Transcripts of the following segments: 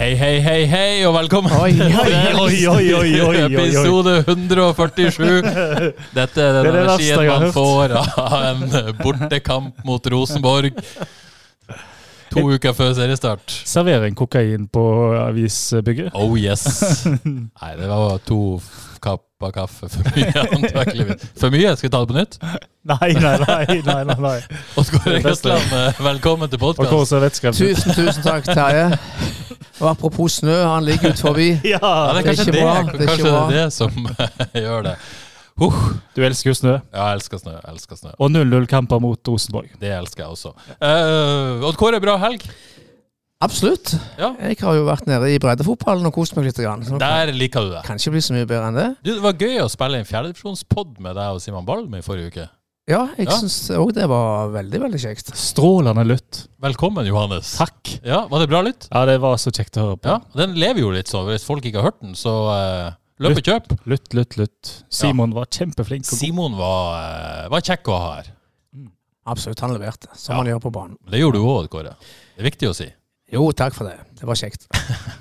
Hei, hei, hei, hei, og velkommen Oi, til oi, oi, oi, oi, oi, oi. episode 147. Dette er den Det er det verste energien jeg har man hørt. får av en bortekamp mot Rosenborg to uker før seriestart. Servering kokain på avisbygget. Oh yes. Nei, det var to f- kapper kaffe for mye, antakeligvis. For mye? Skal vi ta det på nytt? Nei, nei, nei. nei, nei, nei. Odd-Kåre Det beste. Grøtland, eh, velkommen til Og hvor podkast. ser vettskremmen ut? Tusen, tusen takk, Terje. Og apropos snø, han ligger ut forbi. Ja, det Ja, er det er kanskje det, ikke bra, det er ikke kanskje det, bra. er det som gjør det. Huh. du elsker jo snø. Ja, jeg elsker snø. Jeg elsker snø. Og 0-0-kamper mot Rosenborg. Det elsker jeg også. Uh, Odd Kåre, bra helg. Absolutt. Ja. Jeg har jo vært nede i breddefotballen og kost meg litt. grann, Så det Der liker du det. kan ikke bli så mye bedre enn det. Du, det var gøy å spille en fjerdedivisjonspod med deg og Simon Balm i forrige uke. Ja, jeg Ja. synes syns òg det var veldig, veldig kjekt. Strålende lytt. Velkommen, Johannes. Takk. Ja, Var det bra lytt? Ja, det var så kjekt å høre på. Ja, Den lever jo litt, så hvis folk ikke har hørt den, så eh, løp og kjøp. Lytt, lytt, lytt. Simon var kjempeflink. og god. Simon var, eh, var kjekk å ha her. Absolutt, han leverte, som Ja. han gjør på banen. Det gjorde du òg, Kåre. Det er viktig å si. Jo, takk for det. Det var kjekt.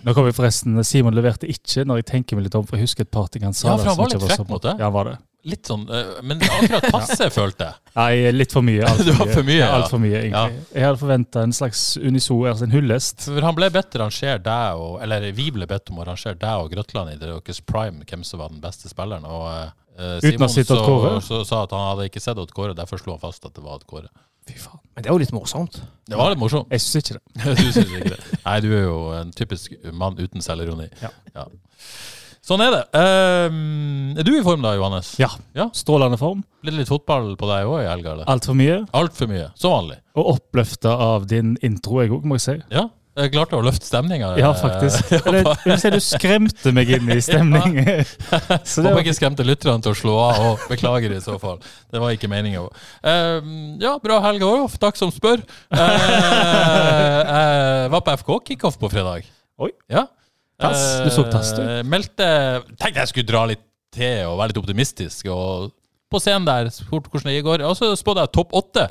Nå kom vi forresten, Simon leverte ikke, når jeg tenker meg litt om, for jeg husker et par ting han sa. Ja, der for han som var ikke litt så frekk bra. mot deg. Ja, han var det. Litt sånn, eh, Men akkurat passe, følte jeg. Nei, litt for mye. Alt Det var for mye, ja. Alt for mye, egentlig. Jeg hadde forventa en slags uniso, altså en hyllest. For han ble bedt til å rangere deg og Eller vi ble bedt om å rangere deg og Grøtland i deres prime, hvem som var den beste spilleren. Og eh, Uten å Simon ha sett Odd Kåre? så, så, sa at han hadde ikke sett Odd Kåre, derfor slo han fast at det var Odd Kåre. Fy faen. Men det er jo litt morsomt. Det var litt morsomt. Jeg syns ikke det. du syns ikke det. Nei, du er jo en typisk mann uten selvironi. Ja. Sånn er det. Ehm, er du i form da, Johannes? Ja. Strålende form. Blir det litt fotball på deg òg i helga, eller? Altfor mye. Altfor mye, som vanlig. Og oppløfta av din intro, jeg òg, må jeg si. Ja. Jeg klarte å løfte eh, stemninga. Ja, faktisk. Eller, jeg vil si du skremte meg inn i stemning. Så det Håper var, jeg ikke skremte lytterne til å slå av, og beklager i så fall. Det var ikke meninga. ja, bra helg òg, takk som spør. Eh, jeg var på FK kickoff på fredag. Oi. Ja. Tass, du så tass, du. Eh, meldte Tenkte jeg skulle dra litt til og være litt optimistisk. Og på scenen der spurte hvordan det går, og så spådde jeg topp åtte.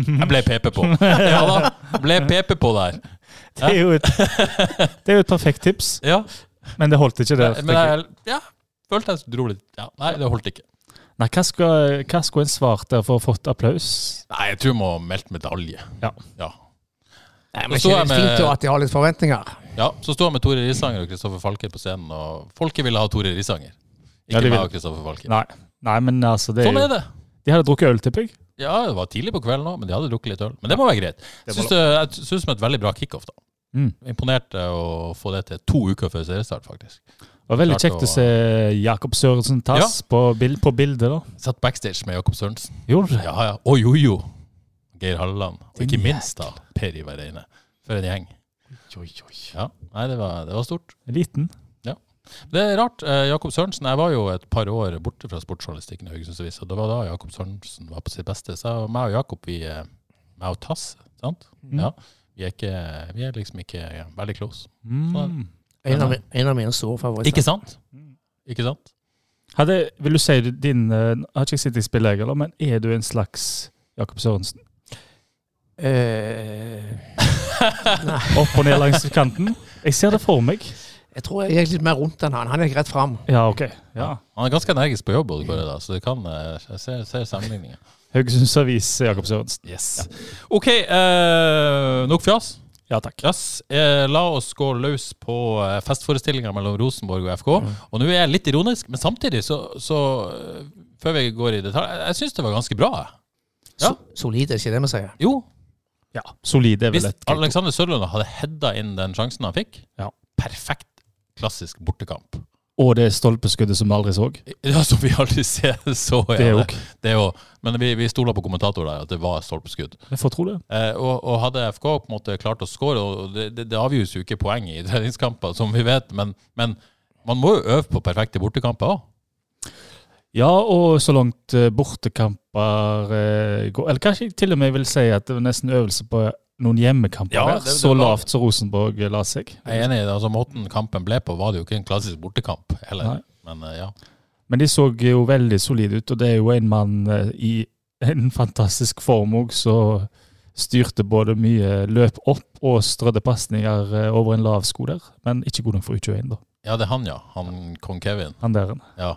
Jeg ble PP på. Ja da, ble PP på der. det, er jo et, det er jo et perfekt tips, Ja, men det holdt ikke der. men tenker jeg. jeg ja, følte jeg dro litt ja, Nei, det holdt ikke. Nei, hva skulle hva skulle en svart der for å fått applaus? Nei, jeg tror jeg må melde medalje. Ja. Ja. Nei, Og men så ikke er det med- fint jo at de har litt forventninger? ja, Så står jeg med Tore Risanger og Kristoffer Falker på scenen, og folket ville ha Tore Risanger. Ja, Ikke de vil. meg og Kristoffer Falker. Nei. Nei, men altså, det er Sånn jo er det. De hadde drukket øl, tipper jeg. Ja, det var tidlig på kvelden òg, men de hadde drukket litt øl. Men det må være greit. Det Syns var det, jeg syns det var et veldig bra kickoff, da. Mm. Imponerte å få det til to uker før seriestart, faktisk. Det var veldig Klart kjekt å- å se Jakob Sørensen Tass på, bil, på bildet, da. Satt backstage med Jakob Sørensen. Gjorde det? Ja, ja. Og Jojo. Geir Halleland. Og ikke minst da Per Ivar Reine. For en gjeng. Ja. Nei, det var, det var stort. Liten. Det er rart. eh, Jakob Sørensen Jeg var jo et par år borte fra sportsjournalistikken i Haugesunds Avis, og det var da Jakob Sørensen var på sitt beste. Så meg og Jakob, vi eh, Meg og Tass, sant? Ja. Vi er, ikke, vi er liksom ikke eh, veldig close. Mm. En av, mi- en av mine store favoritter. Ikke sant? Ikke sant? Hadde, vil du si du- din eh, Har ikke jeg sett deg spille, jeg, eller? Men er du en slags Jakob Sørensen? Eh, Opp og ned langs kanten? Jeg ser det for meg. jeg tror jeg gikk litt mer rundt enn han. Han gikk rett fram. Ja, OK. Ja. Han er ganske energisk på jobb, Odd Kåre, da, så det kan eh, Jeg ser, ser sammenligninger. Haugesunds Avis, eh, Jakob Sørensen. Yes. OK, eh, nok fjas. Ja takk. Yes. Eh, la oss gå løs på eh, festforestillinga mellom Rosenborg og FK. Og nå er jeg litt ironisk, men samtidig så, så eh, Før vi går i detalj, jeg, jeg syns det var ganske bra. jeg. Ja. So- Solid, er ikke det vi sier? Jo, Ja, Solid er hvis vel et Alexander Sørlund hadde heada inn den sjansen han fikk, Ja. perfekt klassisk bortekamp. Og det stolpeskuddet som vi aldri så. Ja, som vi aldri ser, så er Det det. òg. det er jo, men vi, vi stoler på kommentator der, at det var et stolpeskudd. Jeg får tro det. Eh, og, og hadde FK på en måte klart å skåre, og det, det, det avgjøres jo ikke poeng i treningskamper, som vi vet, men, men man må jo øve på perfekte bortekamper òg. Ja, og så langt eh, bortekamper eh, går Eller kanskje jeg til og med vil si at det var nesten øvelse på noen hjemmekamper. Ja, her. det- det så var- lavt som Rosenborg eh, la seg. Jeg er enig i det. altså Måten kampen ble på, var det jo ikke en klassisk bortekamp heller. Nei. Men eh, ja. Men de så jo veldig solide ut, og det er jo en mann eh, i en fantastisk form òg, som styrte både mye løp opp og strødde pasninger eh, over en lav sko der. Men ikke god nok for U21, da. ja, det er han, ja. Han kong Kevin. Han der. han. Ja.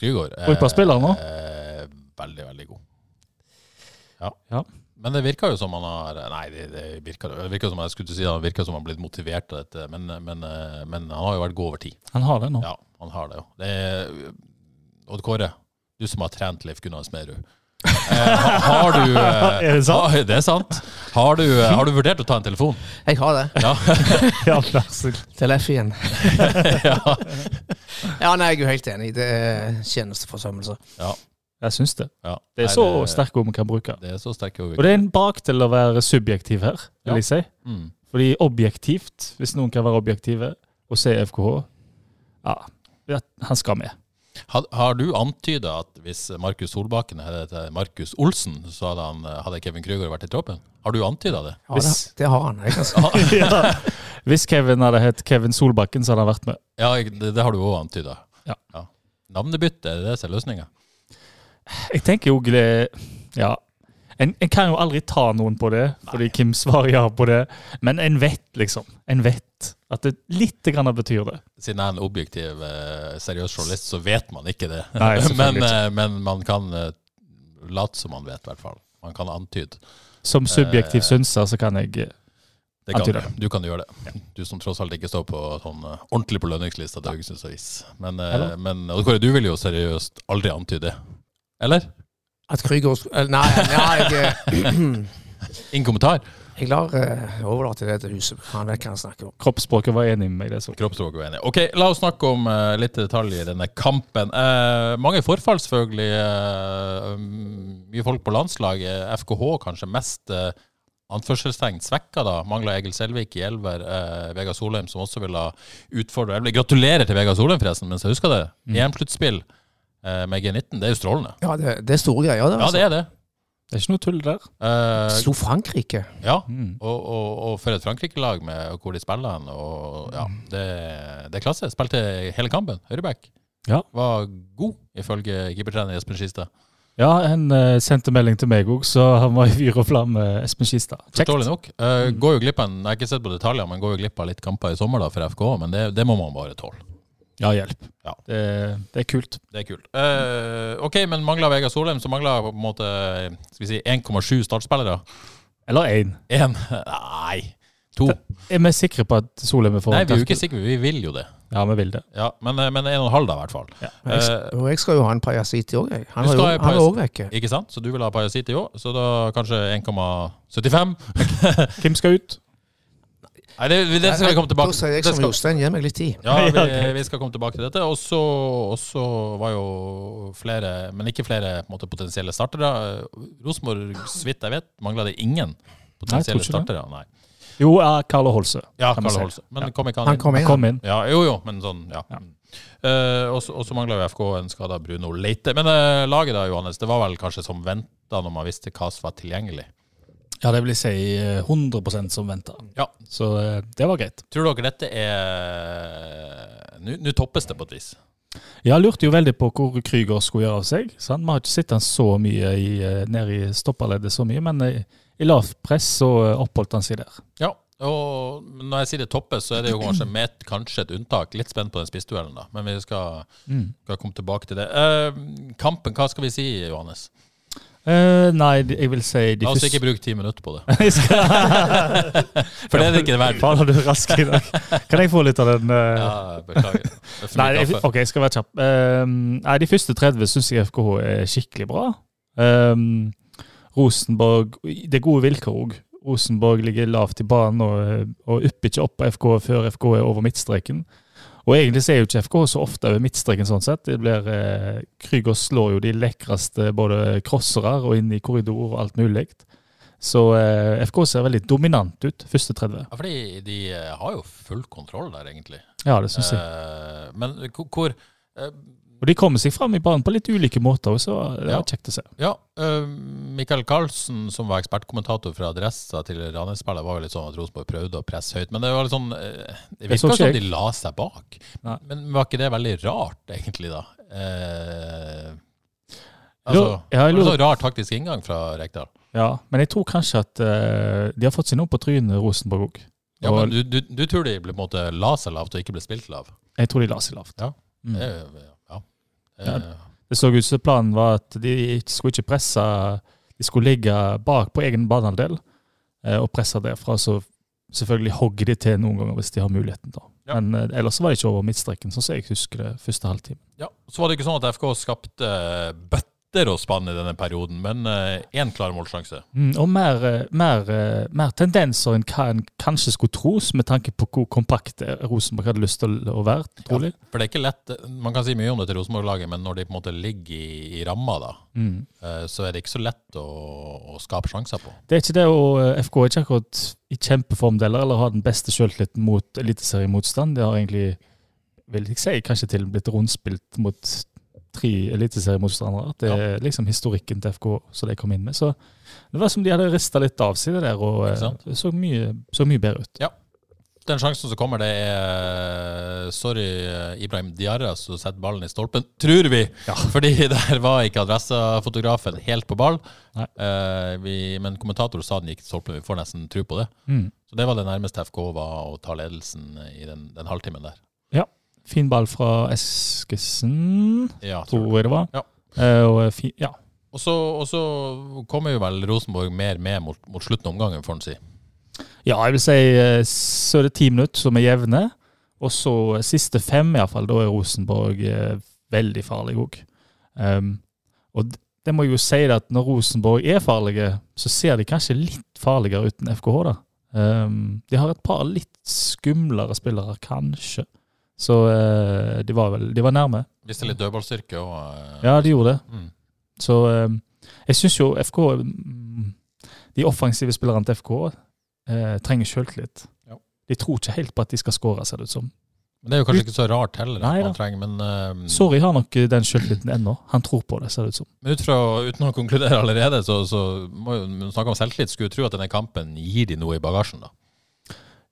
Krygård. eh, Brukbar-spiller nå. Eh, veldig, veldig god. Ja. Ja. Men det virker jo som han har Nei, det, det, virker, det virker som jeg skulle til å si han virker som han har blitt motivert av dette, men, men, eh, men han har jo vært god over tid. Han har det nå. Ja, han har det jo. Det er- Odd Kåre, du som har trent Leif Gunnar Smerud. Eh, ha- har du eh, Er det sant? Har, det er sant. Har du, eh, har du vurdert å ta en telefon? Jeg har det. Ja. Ja, vær så god. Til F igjen. ja. Ja, nei, jeg er jo helt enig. Det er tjenesteforsømmelse. Jeg syns det. ja. Det er Nei, så sterke ord vi kan bruke. Det er så sterk Og det er en bak til å være subjektiv her, vil Ja. jeg si. Mm. Fordi objektivt, hvis noen kan være objektive og se FKH Ja, ja, han skal med. Har, har du antyda at hvis Markus Solbakken het Markus Olsen, så hadde, han, hadde Kevin Krüger vært i troppen? Har du antyda det? Ja, det, Hvis- det har han. Jeg altså. kan si. Ja. Hvis Kevin hadde hett Kevin Solbakken, så hadde han vært med. Ja, jeg- det, det har du òg antyda. Ja. Navnebytte, er det det som er løsninga? Jeg tenker jo det Ja. En, en kan jo aldri ta noen på det, fordi Kim svarer ja på det. Men en vet, liksom. En vet at det lite grann betyr det. Siden jeg er en objektiv, eh, seriøs journalist, så vet man ikke det. Nei, selvfølgelig men, eh, men man kan eh, late som man vet, i hvert fall. Man kan antyde. Som subjektiv Eh. synser så kan jeg eh, Det kan Antyde. du. du kan gjøre det. Du som tross alt ikke står på sånn eh, ordentlig på lønningslista til Haugesunds Avis. Men, eh, Eller? men Odd Kåre, du vil jo seriøst aldri antyde det. Eller? At Krüger sk- eller Nei, nei jeg, Ingen kommentar? jeg lar eh, overlate det til huset. Han vet hva han snakker om. Kroppsspråket var enig med meg. det så. Kroppsspråk og enig. Ok, la oss snakke om eh, litt detaljer i denne kampen. Eh, mange forfall, selvfølgelig. eh, um, mye folk på landslaget. FKH kanskje mest uh, anførselstegn svekka, da. Mangla Egil Selvik i elver. eh, Vegard Solheim som også ville utfordre elver. Gratulerer til Vegard Solheim, forresten, mens jeg husker det. EM-sluttspill eh, med G19. Det er jo strålende. Ja, det, det er store greier. Det, Ja, det er det. Det er ikke noe tull der. Eh, Altså. Slo Frankrike. ja, Mm. og, og, og for et Frankrike-lag med hvor de spiller hen. Og, ja, det, det er klasse. Spilte hele kampen. Høyreback. Ja. Var god, ifølge keepertrener Espen Skistad. Ja, han eh, sendte melding til meg òg, så han var i fyr og flamme, Espen Skistad. Forståelig nok. Eh, går jo glipp av, en- Jeg har ikke sett på detaljer, men går jo glipp av litt kamper i sommer da for FK, men det, det må man bare tåle. Ja, hjelp. Ja. Det, det er kult. Det er kult. Eh, ok, men mangla Vegard Solheim, så mangla på en måte skal vi si, 1,7 startspillere. Eller én. Én? Nei, to. Er vi sikre på at Solheim er Nei, foran? vi er jo ikke Terkel? sikre. Vi vil jo det. Ja, vi vil det. Ja, men, eh, men en og en halv, da, i hvert fall. Men Jeg, Eh, sk- og jeg skal jo ha en Pajasiti òg, jeg. Han var Du jo skal ha han var en Pajasiti. også vekke. Ikke sant? Så du vil ha Parasiti òg, så da kanskje 1,75? Kim skal ut. Nei, det, det skal vi komme tilbake Da sier jeg det som skal, Jostein, gi meg litt tid. ja, Ja, vi, ok. vi skal komme tilbake til dette. Og så og så var jo flere, men ikke flere på en måte, potensielle startere. Rosenborg, så vidt jeg vet, mangla det ingen Nei, potensielle jeg tror ikke det. startere. Nei. Jo, ja, Carlo Holse. Ja, Kan man Karl si. Holse. Men Ja. kom ikke han Han inn? kom inn. Kom inn. Ja, jo, jo, men sånn, ja. Ja. Eh, og så- og så mangla jo FK en skada Bruno Leite. Men eh, laget da, Johannes, det var vel kanskje som venta når man visste hva som var tilgjengelig. Ja, det vil jeg si eh, 100 som venta. Ja. Så eh, det var greit. Tror dere dette er Nå nå toppes det på et vis. Jeg lurte jo veldig på hvor Krüger skulle gjøre av seg. Sant? Vi har ikke sett han så mye i, eh, ned i stopperleddet så mye, men eh, i lavt press så eh, oppholdt han seg der. Ja. Og når jeg sier det toppes, så er det jo kanskje med et, kanskje et unntak. Litt spent på den spissduellen, da. Men vi skal, Mm. skal komme tilbake til det. Eh, kampen, hva skal vi si, Johannes? Eh, nei, de- jeg vil si de La oss første- ikke bruke ti minutter på det. Jeg skal- For det er det ikke det verdt. Faen, er du rask i dag. Kan jeg få litt av den? eh? Ja, beklager. Det er for Nei, mye jeg, kaffe. ok, jeg skal være kjapp. Ehm, nei, De første 30 syns jeg FKH er skikkelig bra. Ehm, Rosenborg Det er gode vilkår òg. Rosenborg ligger lavt i banen og, og upper ikke opp på FK før FK er over midtstreken. Og egentlig ser jo ikke FK så ofte over midtstreken sånn sett. Det blir, eh, Krüger slår jo de lekreste både crossere og inn i korridor og alt mulig. Så eh, FK ser veldig dominant ut første 30. Ja, fordi de eh, har jo full kontroll der, egentlig. Ja, det syns jeg. Eh, men hvor, hvor eh, Og de kommer seg fram i banen på litt ulike måter, så det Ja. var kjekt å se. Ja, eh, Michael Karlsen, som var ekspertkommentator fra Adressa til Ranheim-spillet, var jo litt sånn at Rosenborg prøvde å presse høyt. Men det var litt sånn eh, Det Det så virka som ikke jeg. de la seg bak. Nei. Men var ikke det veldig rart, egentlig, da? Eh, altså, Lur- ja, jeg det var lurer- så rar taktisk inngang fra Rekdal. Ja, men jeg tror kanskje at eh, de har fått seg noe på trynet, Rosenborg òg. Ja, men du, du, du tror de ble, på en måte, la seg lavt og ikke ble spilt lav? Jeg tror de la seg lavt. Ja. Mm. Det, er jo- ja. Ja. Eh, Det så ut som planen var at de ikke- skulle ikke presse De skulle ligge bak på egen banehalvdel eh, og presse derfra. Så selvfølgelig hogger de til noen ganger hvis de har muligheten. da. Ja. Men eh, ellers så var det ikke over midtstreken, sånn som jeg husker det første halvtimen. Ja, så var det ikke sånn at FK skapte bøtter og spann i denne perioden, men eh, én klar målsjanse. Mm, og mer, eh, mer, eh, mer tendenser enn hva en kanskje skulle tros, med tanke på hvor kompakt Rosenborg hadde lyst til å være. trolig. For det er ikke lett, man kan si mye om det til Rosenborg-laget, men når de på en måte ligger i, i ramma, da, Mm. eh, så er det ikke så lett å, å skape sjanser på. Det er ikke det, og eh, FK er ikke akkurat i kjempeform deler, eller har den beste selvtilliten mot eliteseriemotstand. Det har egentlig, vil jeg si, kanskje til og med blitt rundspilt mot tre eliteseriemotstandere. Det er liksom historikken til FK som de kom inn med. Så det var som de hadde rista litt av seg det der, og Ikke eh, sant? det så mye, så mye bedre ut. Den sjansen som kommer, det er Sorry, eh, Ibrahim Diarra som setter ballen i stolpen, tror vi! Fordi der var ikke adressefotografen helt på ball. Nei. Eh, vi, men kommentator sa den gikk i stolpen, vi får nesten tro på det. Mm. Så det var det nærmeste FK var å ta ledelsen i den, den halvtimen der. Fin ball fra Eskesen, Ja, tror tror jeg det var. Ja. Eh, og fin, ja. Og så, og så kommer jo vel Rosenborg mer med mot, mot slutten av omgangen, får en si. Ja, jeg vil si eh, så er det ti minutter som er jevne. Og så eh, siste fem, iallfall. Da er Rosenborg eh, veldig farlig òg. Um, og d- det må jeg jo si det at når Rosenborg er farlige, så ser de kanskje litt farligere uten FKH, da. Um, de har et par litt skumlere spillere, kanskje. Så eh, de var vel de var nærme. Viste litt dødballstyrke og eh, Ja, de gjorde det. Mm. Så eh, jeg syns jo FK mm, De offensive spillerne til FK eh, trenger sjøltillit. Ja. De tror ikke helt på at de skal skåre, ser det ut som. Men det er jo kanskje ikke så rart heller, Nei at da. man trenger, men, eh, Sorry har nok eh, den sjøltilliten ennå. Han tror på det, ser det ut som. men ut fra, uten å konkludere allerede, så, så må jo når man snakke om selvtillit. Skulle jo tro at denne kampen gir de noe i bagasjen, da.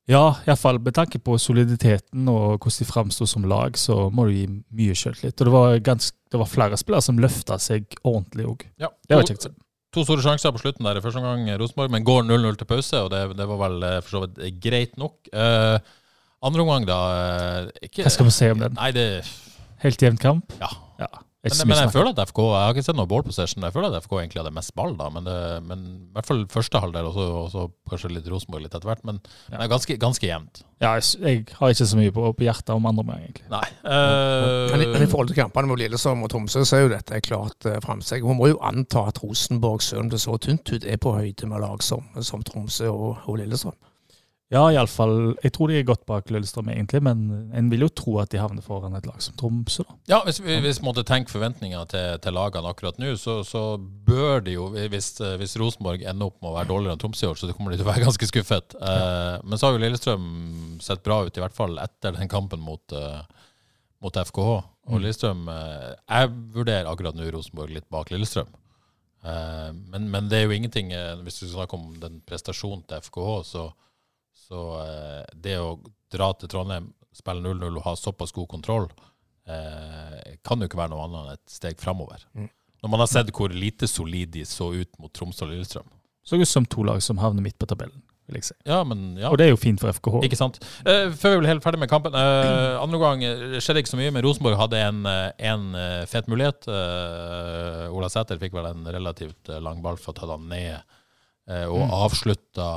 Ja, iallfall med tanke på soliditeten og hvordan de framsto som lag, så må du gi mye sjøltillit. Og det var, gans- det var flere spillere som løfta seg ordentlig òg. Ja, Det var kjekt. å se. To store sjanser på slutten der i første omgang Rosenborg, men går 0-0 til pause, og det, det var vel eh, for så vidt greit nok. Eh, andre omgang, da eh, ikke, Hva skal vi si om den? Nei, det Helt jevn kamp. Ja. ja. Jeg Men, synes men vi jeg snakker- føler at FK Jeg har ikke sett noe ball possession. Jeg føler at FK egentlig hadde mest ball, da. Men, det, men i hvert fall første halvdel, og så- og så kanskje litt Rosenborg litt etter hvert. Men det er ganske, ganske jevnt. ja, jeg, s- jeg har ikke så mye på, på hjertet om andre omgang, egentlig. Nei. Men, i- men i Eh, forhold til kampene mot Lillesand og Tromsø, så er jo dette et klart uh, framsteg. Man må jo anta at Rosenborg, selv om det så tynt ut, er på høyde med lag som, som Tromsø og, og Lillestrøm. Ja, iallfall. Jeg tror de er godt bak Lillestrøm, egentlig, men en vil jo tro at de havner foran et lag som Tromsø, da. ja, hvis vi hvis vi måtte tenke forventninger til, til lagene akkurat nå, så, så bør det jo Hvis, hvis Rosenborg ender opp med å være dårligere enn Tromsø i år, så kommer de til å være ganske skuffet. Eh, men så har jo Lillestrøm sett bra ut, i hvert fall etter den kampen mot, eh, mot FKH. Og Lillestrøm eh, Jeg vurderer akkurat nå Rosenborg litt bak Lillestrøm. Eh, men, men det er jo ingenting eh, Hvis du snakker om den prestasjonen til FKH, så, så eh, det å dra til Trondheim, spille 0-0 og ha såpass god kontroll, eh, kan jo ikke være noe annet enn et steg framover. Mm. Når man har sett hvor lite solid de så ut mot Tromsø og Lillestrøm. Så ut som to lag som havner midt på tabellen, vil jeg si. Ja, men ja. Og det er jo fint for FKH. Ikke sant. Eh, før vi ble helt ferdig med kampen. eh, andre gang eh, skjedde ikke så mye, men Rosenborg hadde en, eh, en eh, fet mulighet. Eh, Ola Sæter fikk vel en relativt eh, lang ball for å ta den ned, eh, og Mm. avslutta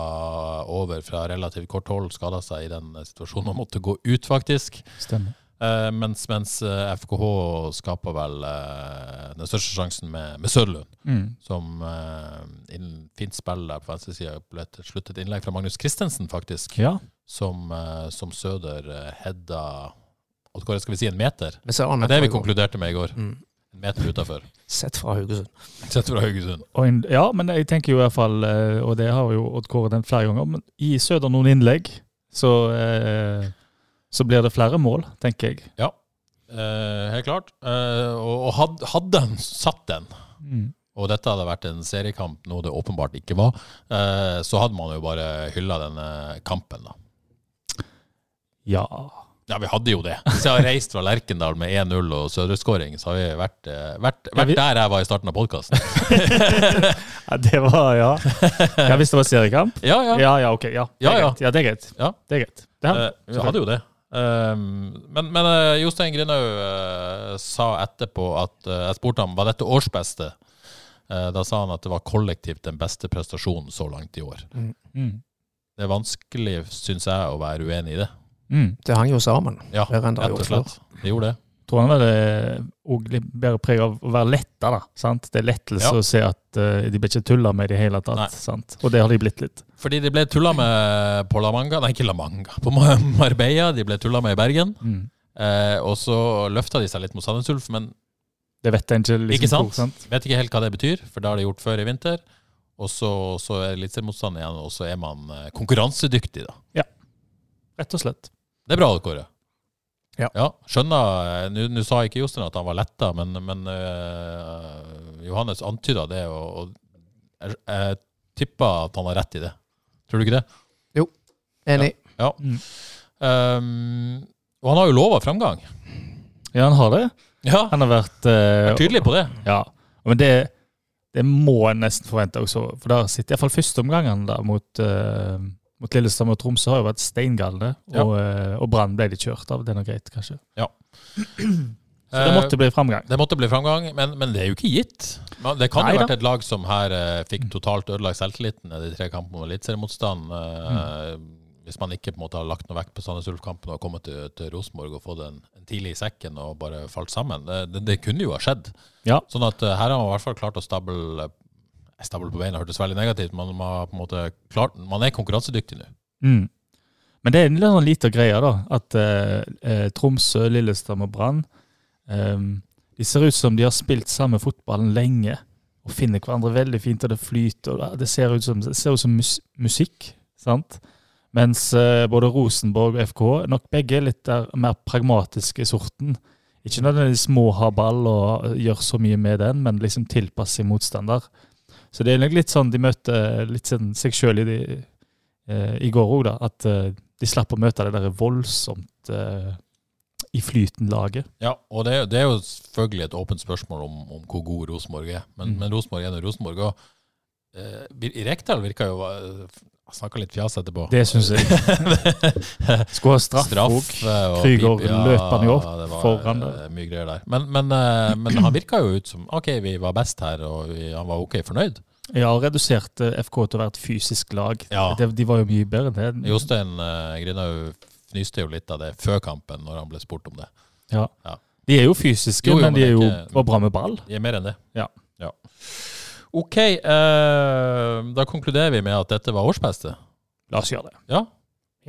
over fra relativt kort hold. Skada seg i den eh, situasjonen og måtte gå ut, faktisk. Stemmer. Eh, mens mens eh, FKH skapa vel eh, den største sjansen med, med Søderlund Mm. som eh, inn- fint spill der på venstresida ble til slutt et innlegg fra Magnus Christensen, faktisk, Ja. som, eh, som Søder eh, heada og hva skal vi si, en meter. Vi ser Det Arne er det vi Fagermo. konkluderte med i går. Mm. En meter utafor. Sett fra Haugesund. Sett fra Haugesund. Og en, ja, men jeg tenker jo i hvert fall, eh, og det har jo Odd Kåre den flere ganger, men i Søder noen innlegg, så, eh, så blir det flere mål, tenker jeg. Eh, helt klart. Eh, og og had, hadde han satt den, og dette hadde vært en seriekamp, noe det åpenbart ikke var, eh, så hadde man jo bare hylla denne kampen, da. Ja. Ja, vi hadde jo det. Hvis jeg har reist fra Lerkendal med 1-0 og Søderskåring, så har vi vært, eh, vært, Ja, vi- vært der jeg var i starten av podkasten. ja. Det var Ja. ja hvis det var seriekamp? Ja, ja. Ja, ja, ok. Ja, det Ja, er ja. greit. Ja, det er greit. Ja. Det er greit. Det er, Eh, vi hadde jo det. Ehm, men men eh, Jostein Grinhaug eh, sa etterpå at eh, Jeg spurte ham var dette årsbeste. Eh, da sa han at det var kollektivt den beste prestasjonen så langt i år. mm. Det er vanskelig, syns jeg, å være uenig i det. Mm. Det hang jo sammen. Ja, Bedre enn det har rett og gjort slett. Det gjorde det. tror han vel eh, og litt bedre preg av å være letta, da. Sant? Det er lettelse Ja. å se at eh, de blir ikke tulla med i det hele Nei. tatt. Sant? Og det har de blitt litt. Fordi de ble tulla med på La Manga, nei, ikke La Manga, på Mar- Marbella. De ble tulla med i Bergen. Mm. Eh, og så løfta de seg litt mot Sandnes Ulf, men Det vet en ikke. Liksom, Ikke sant? hvor, sant? Vet ikke helt hva det betyr, for det har de gjort før i vinter. Og så, så er det litt motstand igjen, og så er man eh, konkurransedyktig, da. Rett og slett. Det er bra, Kåre. Ja. skjønner. eh, Nå nå sa ikke Jostein at han var letta, men, men eh, Johannes antyda det, og, og jeg, jeg tippa at han har rett i det. Tror du ikke det? Enig. Ja. Mm. Um, og han har jo lova framgang. Ja, han har det. Ja, Han har vært eh, er tydelig på det. Ja, men det, det må en nesten forvente også. For der sitter iallfall førsteomgangen da, mot, eh, mot Lillestrøm og Tromsø har jo vært steingalne. Ja. Og, eh, og Brann ble de kjørt av. Det er nå greit, kanskje. Så det Eh, måtte bli framgang. Det måtte bli framgang, men, men det er jo ikke gitt. Men Det kan Nei jo ha da. vært et lag som her eh, Mm. fikk totalt ødelagt selvtilliten i de tre kampene mot eliteseriemotstand. eh, Hvis man ikke på en måte har lagt noe vekt på Sandnes Ulf-kampen og kommet til, til Rosenborg og fått en, en tidlig i sekken og bare falt sammen. Det, det, det kunne jo ha skjedd. Ja. Sånn at eh, her har man i hvert fall klart å stable Stable på beina hørtes veldig negativt, men man, har på en måte klart, man er konkurransedyktig nå. Mm. Men det er en litt sånn lita greie, da. At eh, eh, Tromsø, Lillestrøm og Brann eh, De ser ut som de har spilt samme fotballen lenge. Og finner hverandre veldig fint, og det flyter. og Det ser ut som, det ser ut som mus musikk. sant? Mens eh, både Rosenborg og FK nok begge er litt der mer pragmatiske i sorten. Ikke nødvendigvis må ha ball og eh, gjøre så mye med den, men liksom tilpasse sin motstander. Så det er nok litt sånn de møter litt sånn seg sjøl i de eh, i går òg, da. At eh, de slapp å møte det der voldsomt eh, i flyten-laget. Ja, og det, er- det er jo selvfølgelig et åpent spørsmål om, om hvor god Rosenborg er. Men, Mm. men Rosenborg er nå Rosenborg. Og eh, Vir- Rekdal virka jo eh, Jeg snakka litt fjas etterpå. Det syns jeg. Skulle ha straff Straff òg. eh, og Krüger pip, ja, løp han jo opp det var, foran eh, der. Mye greier der. Men, men, eh, men han virka jo ut som OK, vi var best her, og vi, han var OK fornøyd. Ja, og reduserte FK til å være et fysisk lag. Ja. De, de var jo mye bedre enn det. Jostein eh, Grinhaug fnyste jo litt av det før kampen, når han ble spurt om det. Ja. Ja. De er jo fysiske, Jo, jo, men de men er jo ikke- var bra med ball. De er mer enn det. Ja. OK, eh, da konkluderer vi med at dette var årsbeste. La oss gjøre det. Ja.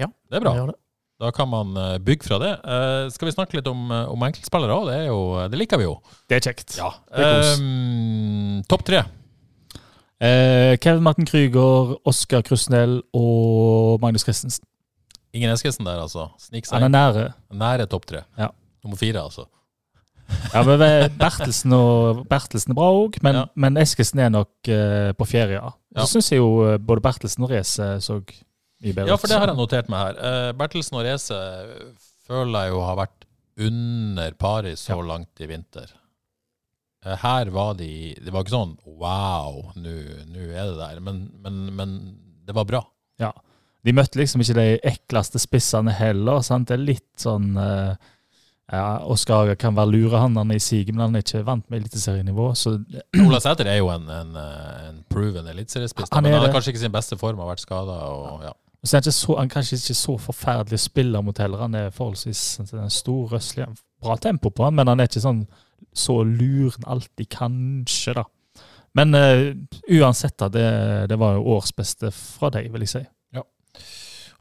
Ja, Det er bra. Ja, det. Da kan man eh, bygge fra det. Eh, skal vi snakke litt om, eh, om enkeltspillere òg? Det, er jo- det liker vi jo. Det er kjekt. Det er Ehm. kos. Eh, Topp tre. Eh, Kevin Martin Krüger, Oskar Krusnell og Magnus Christensen. Ingen Eskesen der, altså. Snik seg Han er nære. nære topp tre. Ja. Nummer fire, altså. Ja, men eh, Bertelsen, og, Bertelsen er bra òg, men, Ja. men Eskesen er nok eh, på ferie. Ja. Ja. Så syns jeg jo eh, både Bertelsen og Race så mye bedre ut. Ja, for det har jeg notert meg her. Eh, Bertelsen og Reze føler jeg jo har vært under pari så langt i vinter. Eh, Her var de Det var ikke sånn wow, nå nå er det der. Men, men, men det var bra. Ja. De møtte liksom ikke de ekleste spissene heller. sant? Det er litt sånn eh, ja, Oskar Haga kan være lure, han, han er i siget, men han er ikke vant med eliteserienivå. Så Ola Sæter er jo en, en, eh, en proven eliteseriespiss, da, Han men er han er det. kanskje ikke i sin beste form, har vært skada. Ja. Og så er han, ikke så, han er kanskje ikke så forferdelig spiller mot heller. Han er forholdsvis en sånn stor røslig. Han har Bra tempo på han, men han er ikke sånn så lur han alltid kanskje, da. Men eh, uansett, da, det, det var jo årsbeste fra deg, vil jeg si.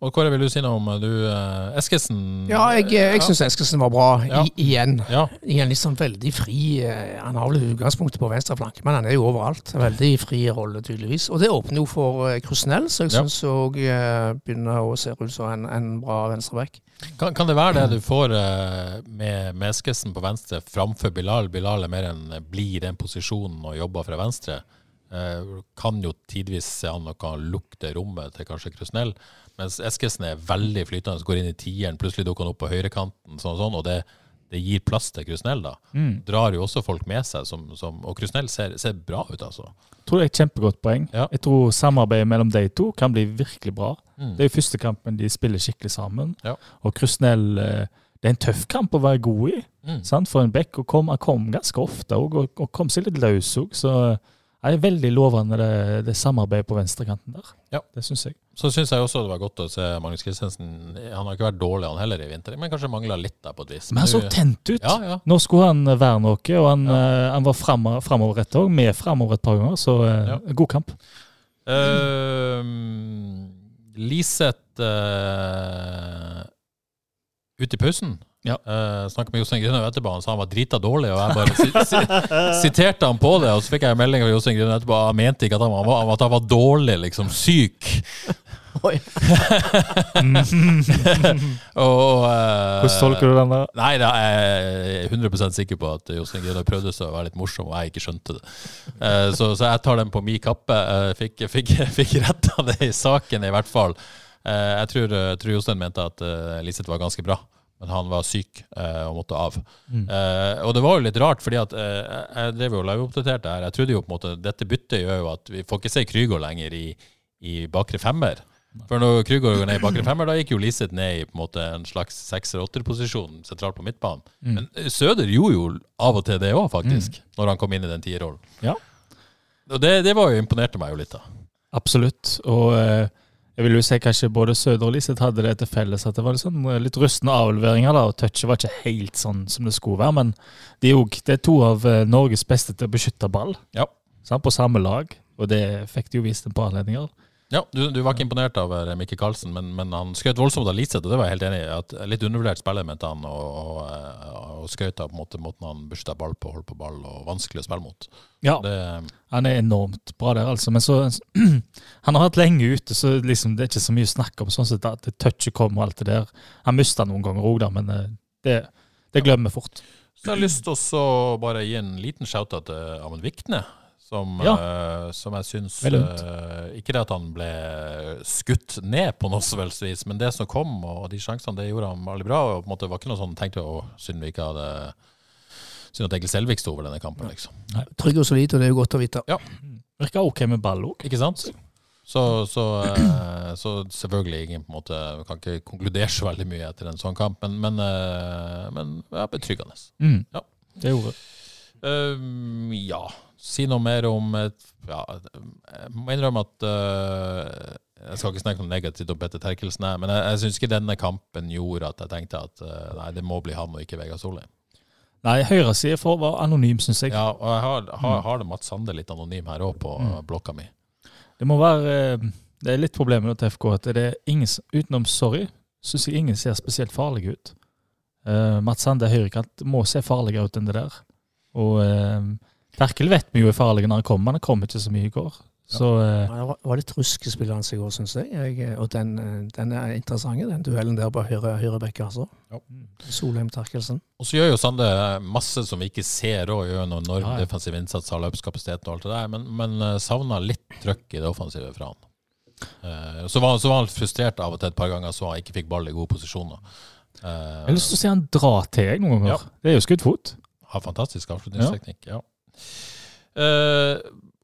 Og Kåre, vil du si noe om eh, du eh, Eskesen? Ja, jeg, eh, jeg syns Eskesen var bra Ja. I, igjen. Ja. Igjen liksom veldig fri. eh, Han har vel utgangspunktet på venstre flanke, men han er jo overalt. Veldig fri rolle, tydeligvis. Og det åpner jo for eh, Krusnell, så jeg Ja. syns òg begynner å se ut som en, en bra venstreback. Kan, kan det være det du får eh, med med Eskesen på venstre framfor Bilal? Bilal er mer en eh, blir den posisjonen og jobber fra venstre. Eh, kan jo tidvis se an og kan lukte rommet til kanskje Krusnell. Mens Eskesen er veldig flytende, så går inn i tieren, plutselig dukker han opp på høyrekanten. Sånn, og sånn, og det, det gir plass til Krusnell, da. Drar jo også folk med seg, som, som, og Krusnell ser, ser bra ut, altså. tror det er et kjempegodt poeng. Ja. Jeg tror samarbeidet mellom de to kan bli virkelig bra. Det er jo første kampen de spiller skikkelig sammen. Mm. Ja. Og Krusnell eh, Det er en tøff kamp å være god i Mm. sant? for en back. Og kom, han kom ganske ofte òg, og, og kom seg litt løs òg. Så det er veldig lovende det, det samarbeidet på venstrekanten der. Ja. Det syns jeg. Så syns jeg også det var godt å se Magnus Christensen. Han har ikke vært dårlig han heller i vinter, men kanskje mangla litt der på et vis. Men han så Nå- tent ut! Ja, ja. Nå skulle han eh, være noe, og han, eh, han var framoverrettet òg. Med framover et par ganger, så eh, Ja. god kamp. Eh, Liseth eh, ute i pausen Ja. eh, snakket med Jostein Grønhaug etterpå. Han sa han var drita dårlig, og jeg bare si, si, siterte han på det. Og så fikk jeg en melding fra Jostein Grønhaug etterpå. Han mente ikke at han, var, at han var dårlig, liksom syk. og, eh, Hvordan tolker du den der? Nei, da er jeg 100 sikker på at Jostein Grønner prøvde seg å være litt morsom, og jeg ikke skjønte det. Eh, Så, så jeg tar den på min kappe. eh, Fikk, fikk, fikk retta det i saken, i hvert fall. Eh, Jeg tror, jeg tror Jostein mente at eh, Liseth var ganske bra, men han var syk eh, og måtte av. Eh, Og det var jo litt rart, fordi at eh, jeg- jeg drev jo og liveoppdaterte her. Jeg trodde jo på en måte Dette byttet gjør jo at vi får ikke se Krygård lenger i, i bakre femmer. For når Krygård går ned i bakre femmer, da gikk jo Liseth ned i på en, måte, en slags sekser-åtter-posisjon sentralt på midtbanen. Men eh, Søder gjorde jo av og til det òg, faktisk, når han kom inn i den tierrollen. Ja. Og det, det var jo imponerte meg jo litt, da. Absolutt. Og eh, jeg vil jo si kanskje både Søder og Liseth hadde det til felles at det var litt, sånn, eh, litt rustne avleveringer, da, og touchet var ikke helt sånn som det skulle være. Men de er, jo, det er to av eh, Norges beste til å beskytte ball, Ja. sant, på samme lag. Og det fikk de jo vist en par anledninger. Ja, du, du var ikke imponert av eh, Mikkel Karlsen, men, men han skjøt voldsomt av Liseth, og det var jeg helt enig i. at Litt undervurdert spiller, mente han, og, og, eh, og skjøt av på en måte måten han beskytta ball på, holdt på ball, og vanskelig å spille mot. Ja, Det, eh, han er enormt bra der, altså. Men så Han har vært lenge ute, så liksom, det er ikke så mye å snakke om. Sånn sett at det touchet kom og alt det der. Han mista noen ganger òg, da, men eh, det, det glemmer vi fort. Så jeg har lyst til å bare gi en liten shout-out til Amund Vikne, som, eh, som jeg syns Vel lurt. eh, Ikke det at han ble skutt ned på noe som helst vis, men det som kom, og de sjansene, det gjorde han veldig bra. og på en måte var ikke noe sånn, tenkte jeg, å, synd vi ikke hadde Synd at Egil Selvik sto over denne kampen, liksom. Trygg og solid, og det er jo godt å vite. Virka OK med ball òg. Ikke sant? Så, så, eh, så selvfølgelig ingen på en måte, kan ikke konkludere så veldig mye etter en sånn kamp, men, men, eh, men ja, betryggende. Mm. Ja. Det gjorde Ehm, ja. Si noe mer om et, ja, Jeg må innrømme at eh, Jeg skal ikke snakke noe negativt om Petter Terkelsen, her, men jeg, jeg syns ikke denne kampen gjorde at jeg tenkte at eh, nei, det må bli han og ikke Vegard Solheim. Nei, høyresida for var anonym, syns jeg. Ja, og jeg har, har, har det Mats Sande litt anonym her òg, på eh, blokka mi. Det må være eh, Det er litt problemet nå til FK at det er ingen s- utenom sorry, syns jeg ingen ser spesielt farlige ut. Eh, Mats Sande høyrekant må se farligere ut enn det der. Og uh, Terkel vet vi jo er farlig når han kommer, men han kom ikke så mye i går. Så eh, Ja, Det var- var litt ruskespillende i går, syns jeg. jeg. Og den, eh, den er interessant, den duellen der på høyre, høyre bekke, altså. Ja. Solheim Terkelsen. Og så gjør jo Sande masse som vi ikke ser òg, gjør en enorm Ja, ja. defensiv innsats, har løpskapasitet og alt det der, men, men eh, savna litt trøkk i det offensive fra han. Eh, Så var, så var han frustrert av og til et par ganger så han ikke fikk ball i gode posisjoner. Eh, jeg har lyst til å se han dra til jeg noen ganger. Ja. Det er jo skutt fot. Har fantastisk avslutningsteknikk, ja. Eh,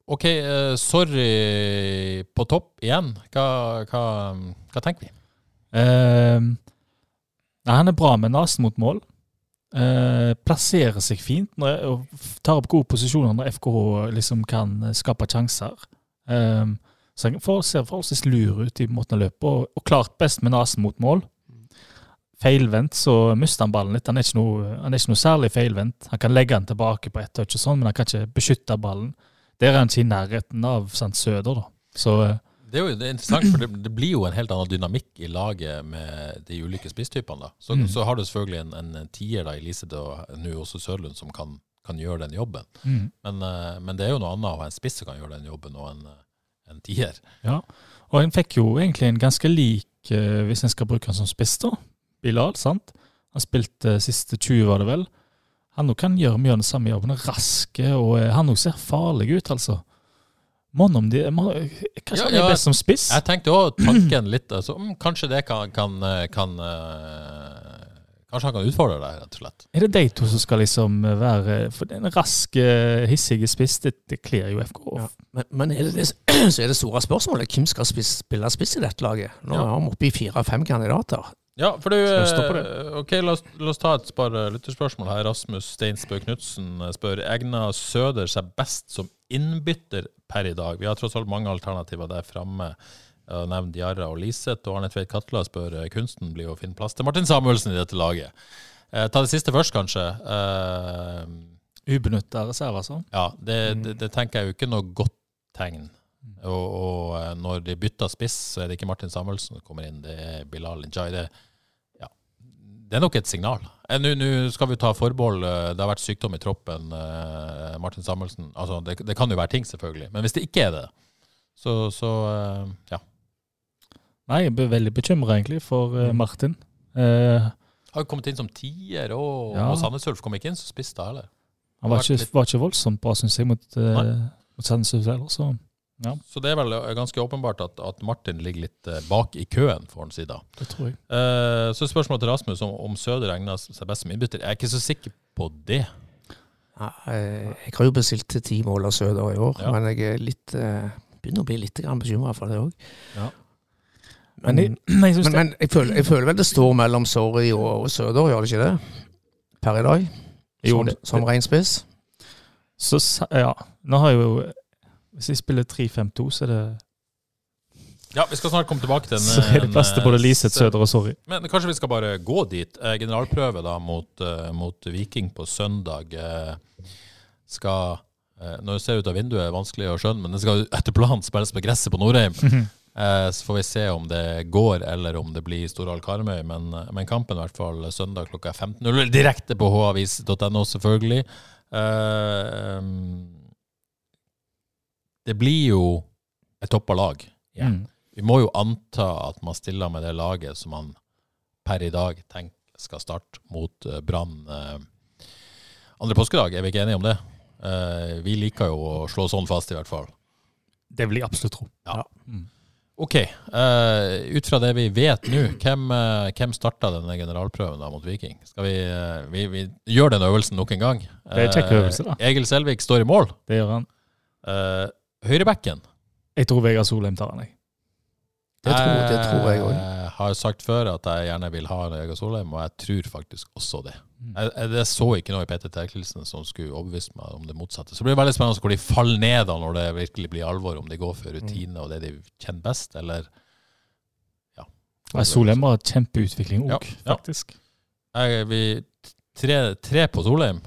ok, eh, sorry på topp igjen. Hva, hva, hva tenker vi? Eh, nei, han er bra med nesen mot mål. Eh, plasserer seg fint når, og tar opp gode posisjoner når FKH liksom kan eh, skape sjanser. Eh, så han får, ser forholdsvis lur ut i måten han løper, og, og klart best med nesen mot mål. Feilvendt så mister han ballen litt. Han er ikke noe, han er ikke noe særlig feilvendt. Han kan legge den tilbake på ett touch, og sånn, men han kan ikke beskytte ballen. Der er han ikke i nærheten av Sant Søder, da. Så eh, Det er jo det er interessant, for det, det blir jo en helt annen dynamikk i laget med de ulike spisstypene. da. Så, så har du selvfølgelig en, en, tier da, i Liseth og nå også Sørlund som kan, kan gjøre den jobben. Mm. Men, eh, men det er jo noe annet å ha en spiss som kan gjøre den jobben, og en, eh, en tier. Ja, og en fikk jo egentlig en ganske lik, eh, hvis en skal bruke han som spiss, da. Bilal, sant? Han spilte eh, siste 20, var det vel. Han òg kan gjøre mye av den samme jobben. Han er Raske, og eh, han òg ser farlig ut, altså. Mon om de mon, Ja, Kanskje han er ja. best som spiss? Jeg tenkte òg tanken litt altså, mm, Kanskje det kan, kan, eh, kan eh, Kanskje han kan utfordre deg, rett og slett. Er det de to som skal liksom være For den raske, hissige spiss, det, det kler jo FK. Ja. Men, men er det det, så er det store spørsmålet hvem skal spis, spille spiss i dette laget? Nå Ja. er vi oppe i fire-fem kandidater. Ja, for du Skal jeg stoppe eh, Ok, la oss, la oss ta et par eh, lytterspørsmål her. Rasmus Steinsbø Knutsen eh, spør egner Søder seg best som innbytter per i dag. Vi har tross alt mange alternativer der framme. Jeg har nevnt Jarra og Liseth, og Arne Tveit Katla spør eh, kunsten blir å finne plass til Martin Samuelsen i dette laget. Eh, ta det siste først, kanskje. Eh, Ubenytta reserver, sånn. ja, det, det, det tenker jeg jo ikke noe godt tegn. Og, og eh, når de bytter spiss, så er det ikke Martin Samuelsen som kommer inn, det er Bilal Njay. Det, ja, det er nok et signal. Eh, Nå nå skal vi ta forbehold. eh, Det har vært sykdom i troppen. eh, Martin Samuelsen altså, det, det kan jo være ting, selvfølgelig. Men hvis det ikke er det, så, så eh, ja. Nei, jeg ble veldig bekymra egentlig for eh, Mm. Martin. Eh, Har jo kommet inn som tier, og, Ja. og Sandnes Ulf kom ikke inn som spiss da heller. han var Vært ikke, litt- var ikke voldsomt bra, syns jeg, mot, eh, Nei. mot Sandnes Ulf heller. Så Så det er vel eh, ganske åpenbart at, at Martin ligger litt eh, bak i køen, får han si da. det tror jeg. Eh, Så spørsmålet til Rasmus om, om Søder egner seg best som innbytter. Jeg er ikke så sikker på det. Ja, eh, jeg har jo bestilt til ti mål av Søder i år, Ja. men jeg er litt, eh, begynner å bli litt bekymra for det òg. Ja. Men Men, jeg, jeg synes men, men jeg, føler, jeg føler vel det står mellom Sorry og, og Søder, gjør det ikke det? Per i dag? det, jo, som, det, som ren spiss? så, sa- ja, nå har jeg jo Hvis jeg spiller 3-5-2, så er det, Ja, Vi skal snart komme tilbake til en så er det plass til en, både eh, Liseth, se- Søder og Sorry. Men kanskje vi skal bare gå dit. Eh, Generalprøve da mot, eh, mot Viking på søndag eh, skal eh, Når du ser ut av vinduet, er det vanskelig å skjønne, men det skal jo etter planen spilles på gresset på Norheim. Eh, Så får vi se om det går, eller om det blir Storhall Karmøy. Men, eh, men kampen i hvert fall søndag klokka 15.00 direkte på havis.no, selvfølgelig. Eh, Det blir jo et toppa lag. Ja. Mm. Vi må jo anta at man stiller med det laget som man per i dag tenker skal starte mot eh, Brann eh, andre påskedag. Er vi ikke enige om det? Eh, Vi liker jo å slå sånn fast, i hvert fall. Det vil jeg absolutt tro. Ok, eh, ut fra det vi vet nå, hvem, uh, hvem starta denne generalprøven da mot Viking? Skal vi, eh, vi, vi gjør den øvelsen nok en gang? Det er en kjekk Eh, øvelse, da. Egil Selvik står i mål. Det gjør han. Uh, Høyrebekken. Jeg tror Vegard Solheim tar han, jeg. Det tror, det tror jeg òg. Jeg eh, har sagt før at jeg gjerne vil ha Vegard Solheim, og jeg tror faktisk også det. Jeg, jeg, jeg så ikke noe i Peter Terkelsen som skulle overbevise meg om det motsatte. Så det blir veldig spennende hvor de faller ned da når det virkelig blir alvor, om de går for rutine og det de kjenner best, eller ja. Nei, Solheim har kjempeutvikling Ja, òg, ja. faktisk. Jeg, vi, tre, tre på Solheim.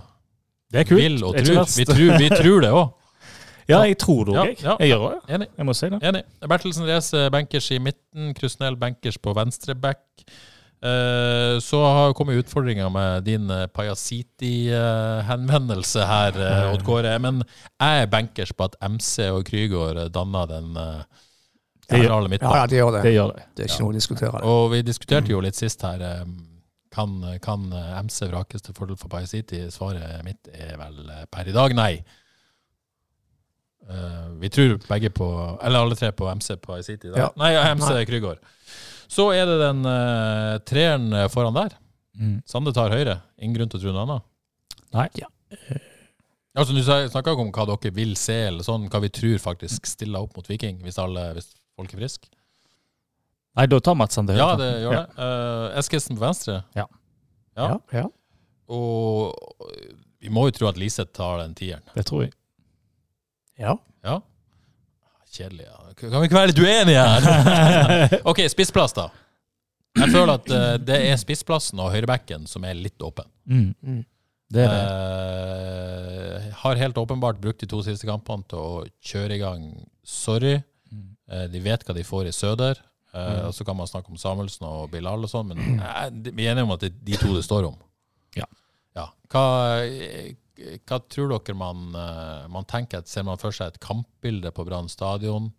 Det er kult. Vil og Det er ikke tror. verst. Vi tror, vi tror det òg. Ja, jeg tror det òg, Ja, jeg. ja. Jeg gjør det. Enig. Jeg må si det. Enig. Bertelsen Reze, bankers i midten. Krusnell, bankers på venstre back. Eh, Så har kommet utfordringa med din Pajasiti-henvendelse her, eh, Odd Kåre. Men jeg er bankers på at MC og Krygård danna den eh, Det gjør- sentrale Ja, midtbanen. ja, det gjør det. Det gjør det. Det er ikke noe å diskutere. det. Og vi diskuterte jo litt sist her eh, kan, kan MC vrakes til fordel for Pajasiti? Svaret mitt er vel eh, per i dag nei. Eh, vi tror begge på Eller alle tre på MC Pajasiti. da. Ja. Nei, MC Nei. Krygård. Så er det den eh, treeren foran der. Mm. Sande tar høyre. Ingen grunn til å tro noe annet. Nei. Altså, Du sa- snakka jo om hva dere vil se, eller sånn, hva vi tror faktisk stiller opp mot Viking, hvis, alle, hvis folk er friske. Nei, da tar Mats Sander Ja, høyre. det gjør Ja. det. Eh, Eskilsen på venstre. Ja. Ja. Ja, ja. Og vi må jo tro at Liseth tar den tieren. Det tror jeg. ja. Ja. Kjedelig. Ja. Kan vi ikke være litt uenige her? ok, spissplass, da. Jeg føler at eh, det er spissplassen og høyrebekken som er litt åpen. Mm. Mm. Det er det. Eh, har helt åpenbart brukt de to siste kampene til å kjøre i gang Sorry. Mm. Eh, De vet hva de får i Søder. Eh, og Så kan man snakke om Samuelsen og Bilal og sånn, men eh, de- vi er enige om at det er de to det står om. Ja. Ja. Hva, eh, hva tror dere man, eh, man tenker? at- Ser man for seg et kampbilde på Brann stadion?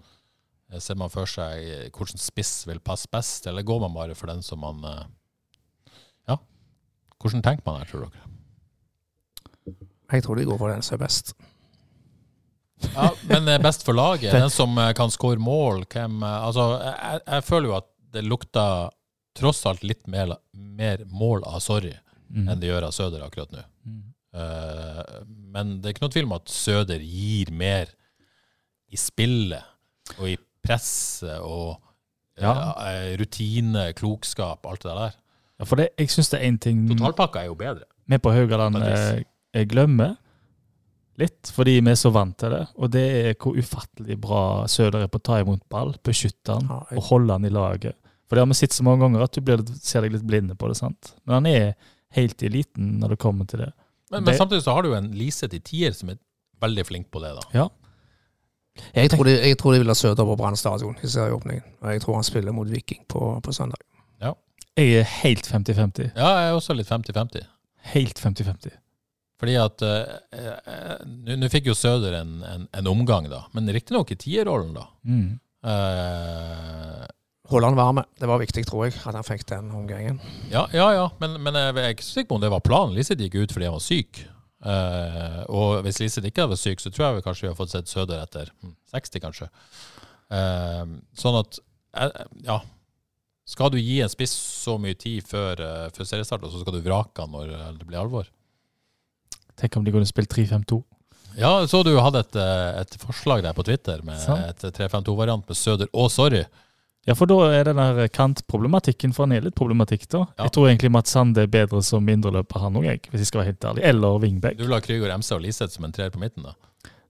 Eh, Ser man for seg eh, hvordan spiss vil passe best, eller går man bare for den som man eh, Ja. Hvordan tenker man her, tror dere? Jeg tror de går for den som er best. Ja, men eh, best for laget, den som eh, kan score mål, hvem eh, Altså, jeg, jeg- jeg føler jo at det lukter tross alt litt mer, mer mål av Sorry Mm. enn det gjør av Søder akkurat nå. Eh, men det er ikke noe tvil om at Søder gir mer i spillet og i presset og Ja. eh, rutine, klokskap, alt det der. Ja, for det, jeg syns det er én ting Totalpakka er jo bedre. vi på Haugaland På et vis. eh, jeg glemmer litt, fordi vi er så vant til det. Og det er hvor ufattelig bra Søder er på å ta imot ball, beskytte han Ja, jeg- og holde han i laget. For det har vi sett så mange ganger at du blir, ser deg litt blinde på det. sant? Men han er helt i eliten når det kommer til det. Men, men Det- samtidig så har du jo en Liseth i tier som er veldig flink på det, da. Jeg tror de, jeg tror de vil ha Søder på Brann stadion i serieåpningen. Og jeg tror han spiller mot Viking på, på søndag. Jeg er helt 50-50. Ja, jeg er også litt 50-50. Helt 50-50. Fordi at eh, eh, Nå nå fikk jo Søder en, en, en omgang, da. Men riktignok i tierrollen, da. Mm. Eh, Holde han varme. Det var viktig, tror jeg, at han fikk den omgangen. ja, ja, ja. Men, men jeg er ikke sikker på om det var planen. Liseth gikk ut fordi han var syk. Eh, og hvis Liseth ikke hadde vært syk, så tror jeg vi kanskje vi har fått sett Søder etter hm, 60, kanskje. Eh, sånn at eh, Ja. Skal du gi en spiss så mye tid før, eh, før seriestart, og så skal du vrake han når eh, det blir alvor? Tenk om de kunne spilt 3-5-2. Ja, så du hadde et, eh, et forslag der på Twitter med Sant. et 352-variant med Søder og Sorry. Ja, for da er den der kantproblematikken for han er litt problematikk, da. Ja. Jeg tror egentlig Mats Sande er bedre som mindreløper, han òg, jeg, hvis jeg skal være helt ærlig. Eller wingback. Du la Krüger, MC og Liseth som en treer på midten, da.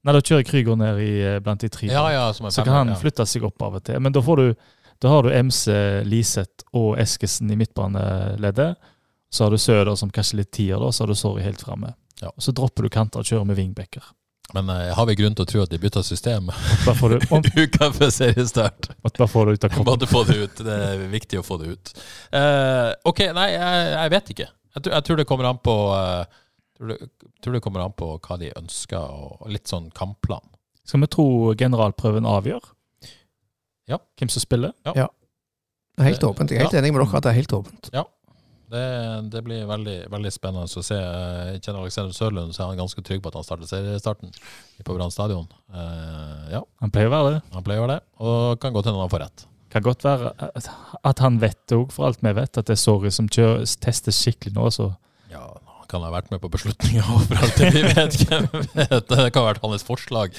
Nei, da kjører Krüger ned i, eh, blant de tre. Ja, ja, som en så kan han femmer, ja. flytte seg opp av og til. Men da, får du, da har du MC, Liseth og Eskesen i midtbaneleddet. Så har du Søder som kanskje litt tier, da, så har du Sorry helt framme. Ja. Og Så dropper du kanter og kjører med wingbacker. Men eh, har vi grunn til å tro at de bytta system Bare får du, om, uka før seriestart? bare får du ut av kroppen. Måtte få det ut. Det er viktig å få det ut. Eh, OK, nei, jeg, jeg vet ikke. Jeg, tror- jeg tror det kommer an på eh, tror, det, tror det kommer an på hva de ønsker, og litt sånn kampplan. Skal vi tro generalprøven avgjør? Ja. Hvem som spiller? Helt åpent. Jeg er helt enig med dere at det er helt åpent. Det, det blir veldig, veldig spennende å se. Jeg kjenner Alexander Sørlund, så er han ganske trygg på at han starter seriestarten på Brann stadion. Eh, ja, Han pleier å være det. han pleier å gjøre det, og kan godt hende han får rett. Kan godt være at- at han vet det òg, for alt vi vet, at det er Sorry som kjører, tester skikkelig nå. Så. Ja, han kan ha vært med på beslutninga overalt. Vi vet hvem vet. Det kan ha vært hans forslag.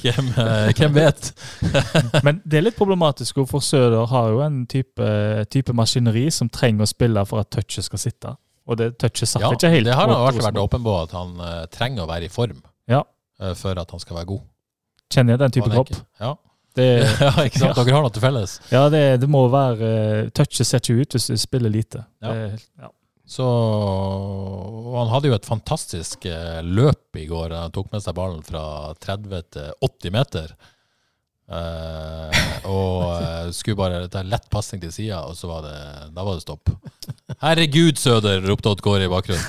Hvem, eh, hvem vet? Men det er litt problematisk, også, for Søder har jo en type, type maskineri som trenger å spille for at touchet skal sitte. Og det touchet satt Ja, ikke helt. det har han mot vært, vært Rosenborg. åpen på, at han eh, trenger å være i form Ja. eh, for at han skal være god. Kjenner jeg den type Og han er kropp? ikke- Ja. Det, ja, ikke sant? Dere har noe til felles. ja, det, det må være eh, Touchet ser ikke ut hvis du spiller lite. Ja. Det, ja. Så og Han hadde jo et fantastisk eh, løp i går. Han tok med seg ballen fra 30 til 80 meter. Eh, og eh, skulle bare ta en lett pasning til sida, og så var det, da var det stopp. 'Herregud, Søder!' ropte Odd Kåre i bakgrunnen.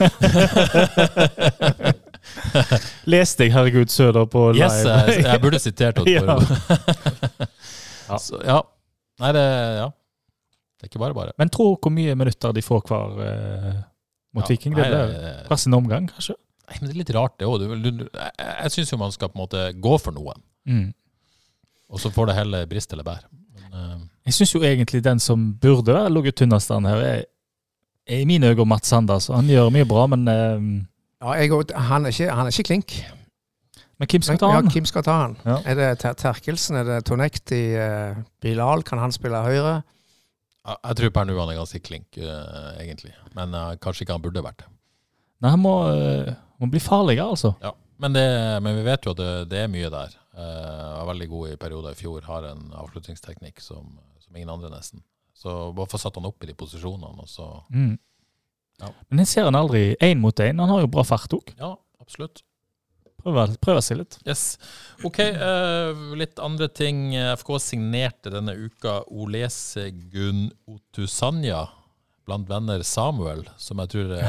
Leste jeg 'Herregud, Søder' på live? Yes, jeg, jeg burde sitert Odd Ja. Kåre. Ja. Så, ja. Nei, det Ja. Det er ikke bare bare. Men tro hvor mye minutter de får hver eh, mot Ja. Viking. Nei, Det eh, blir det- plass en omgang, kanskje? Nei, men det er litt rart, det òg. Jeg, jeg syns jo man skal på en måte gå for noen, Mm. og så får det heller brist eller bær. Men, eh, Jeg syns jo egentlig den som burde være ligget tynnest an her, er, er i mine øyne Mats Sanders. Han gjør mye bra, men, eh, Ja, jeg, går ut- han, er ikke, han er ikke klink. men hvem skal Men, ta ja, han? hvem skal ta han? Ja. Er det Ter Terkelsen? Er det Tonekti? eh, Bilal? Kan han spille høyre? jeg, jeg tror per nå han er ganske klink, eh, egentlig. Men eh, kanskje ikke han burde vært det. Nei, han må, eh, må bli farligere, altså. Ja. Men, det. men vi vet jo at det, det er mye der. Eh, var veldig god i perioder i fjor. Har en avslutningsteknikk som, som ingen andre, nesten. Så bare få satt han opp i de posisjonene, og så Mm. Ja. Men jeg ser han aldri én mot én. Han har jo bra fart òg. Ja, absolutt. Prøve, prøve seg litt. Yes. OK, eh, litt andre ting. FK signerte denne uka Olesegun Otusanya blant venner Samuel, som jeg tror er,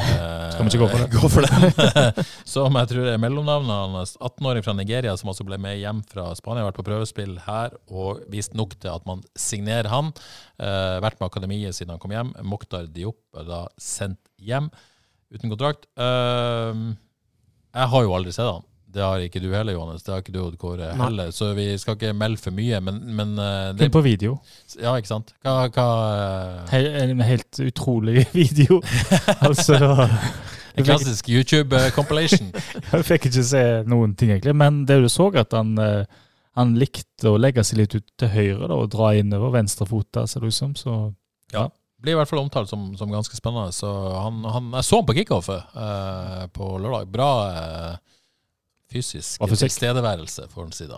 Skal vi ikke gå for det? det. som jeg tror er mellomnavnet hans. 18-åring fra Nigeria som altså ble med hjem fra Spania. Vært på prøvespill her og vist nok til at man signerer han. Eh, vært med akademiet siden han kom hjem. Mokhtar Diop er da sendt hjem uten kontrakt. Eh, jeg har jo aldri sett han. Det har ikke du heller, Johannes. Det har ikke du, Odd Kåre, Nei. heller. Så vi skal ikke melde for mye, men, men eh, det, Kun på video. Ja, ikke sant? Hva, hva eh, He en helt utrolig video. altså En klassisk eh, YouTube-compilation. Jeg fikk ikke se noen ting, egentlig. Men det du så, at han, eh, han likte å legge seg litt ut til høyre da, og dra innover venstrefota, ser det ut som. Så Blir i hvert fall omtalt som, som ganske spennende. Så han, han, jeg så han på kickoffet eh, på lørdag. Bra eh, fysisk Bra fysikk. tilstedeværelse, får en si da.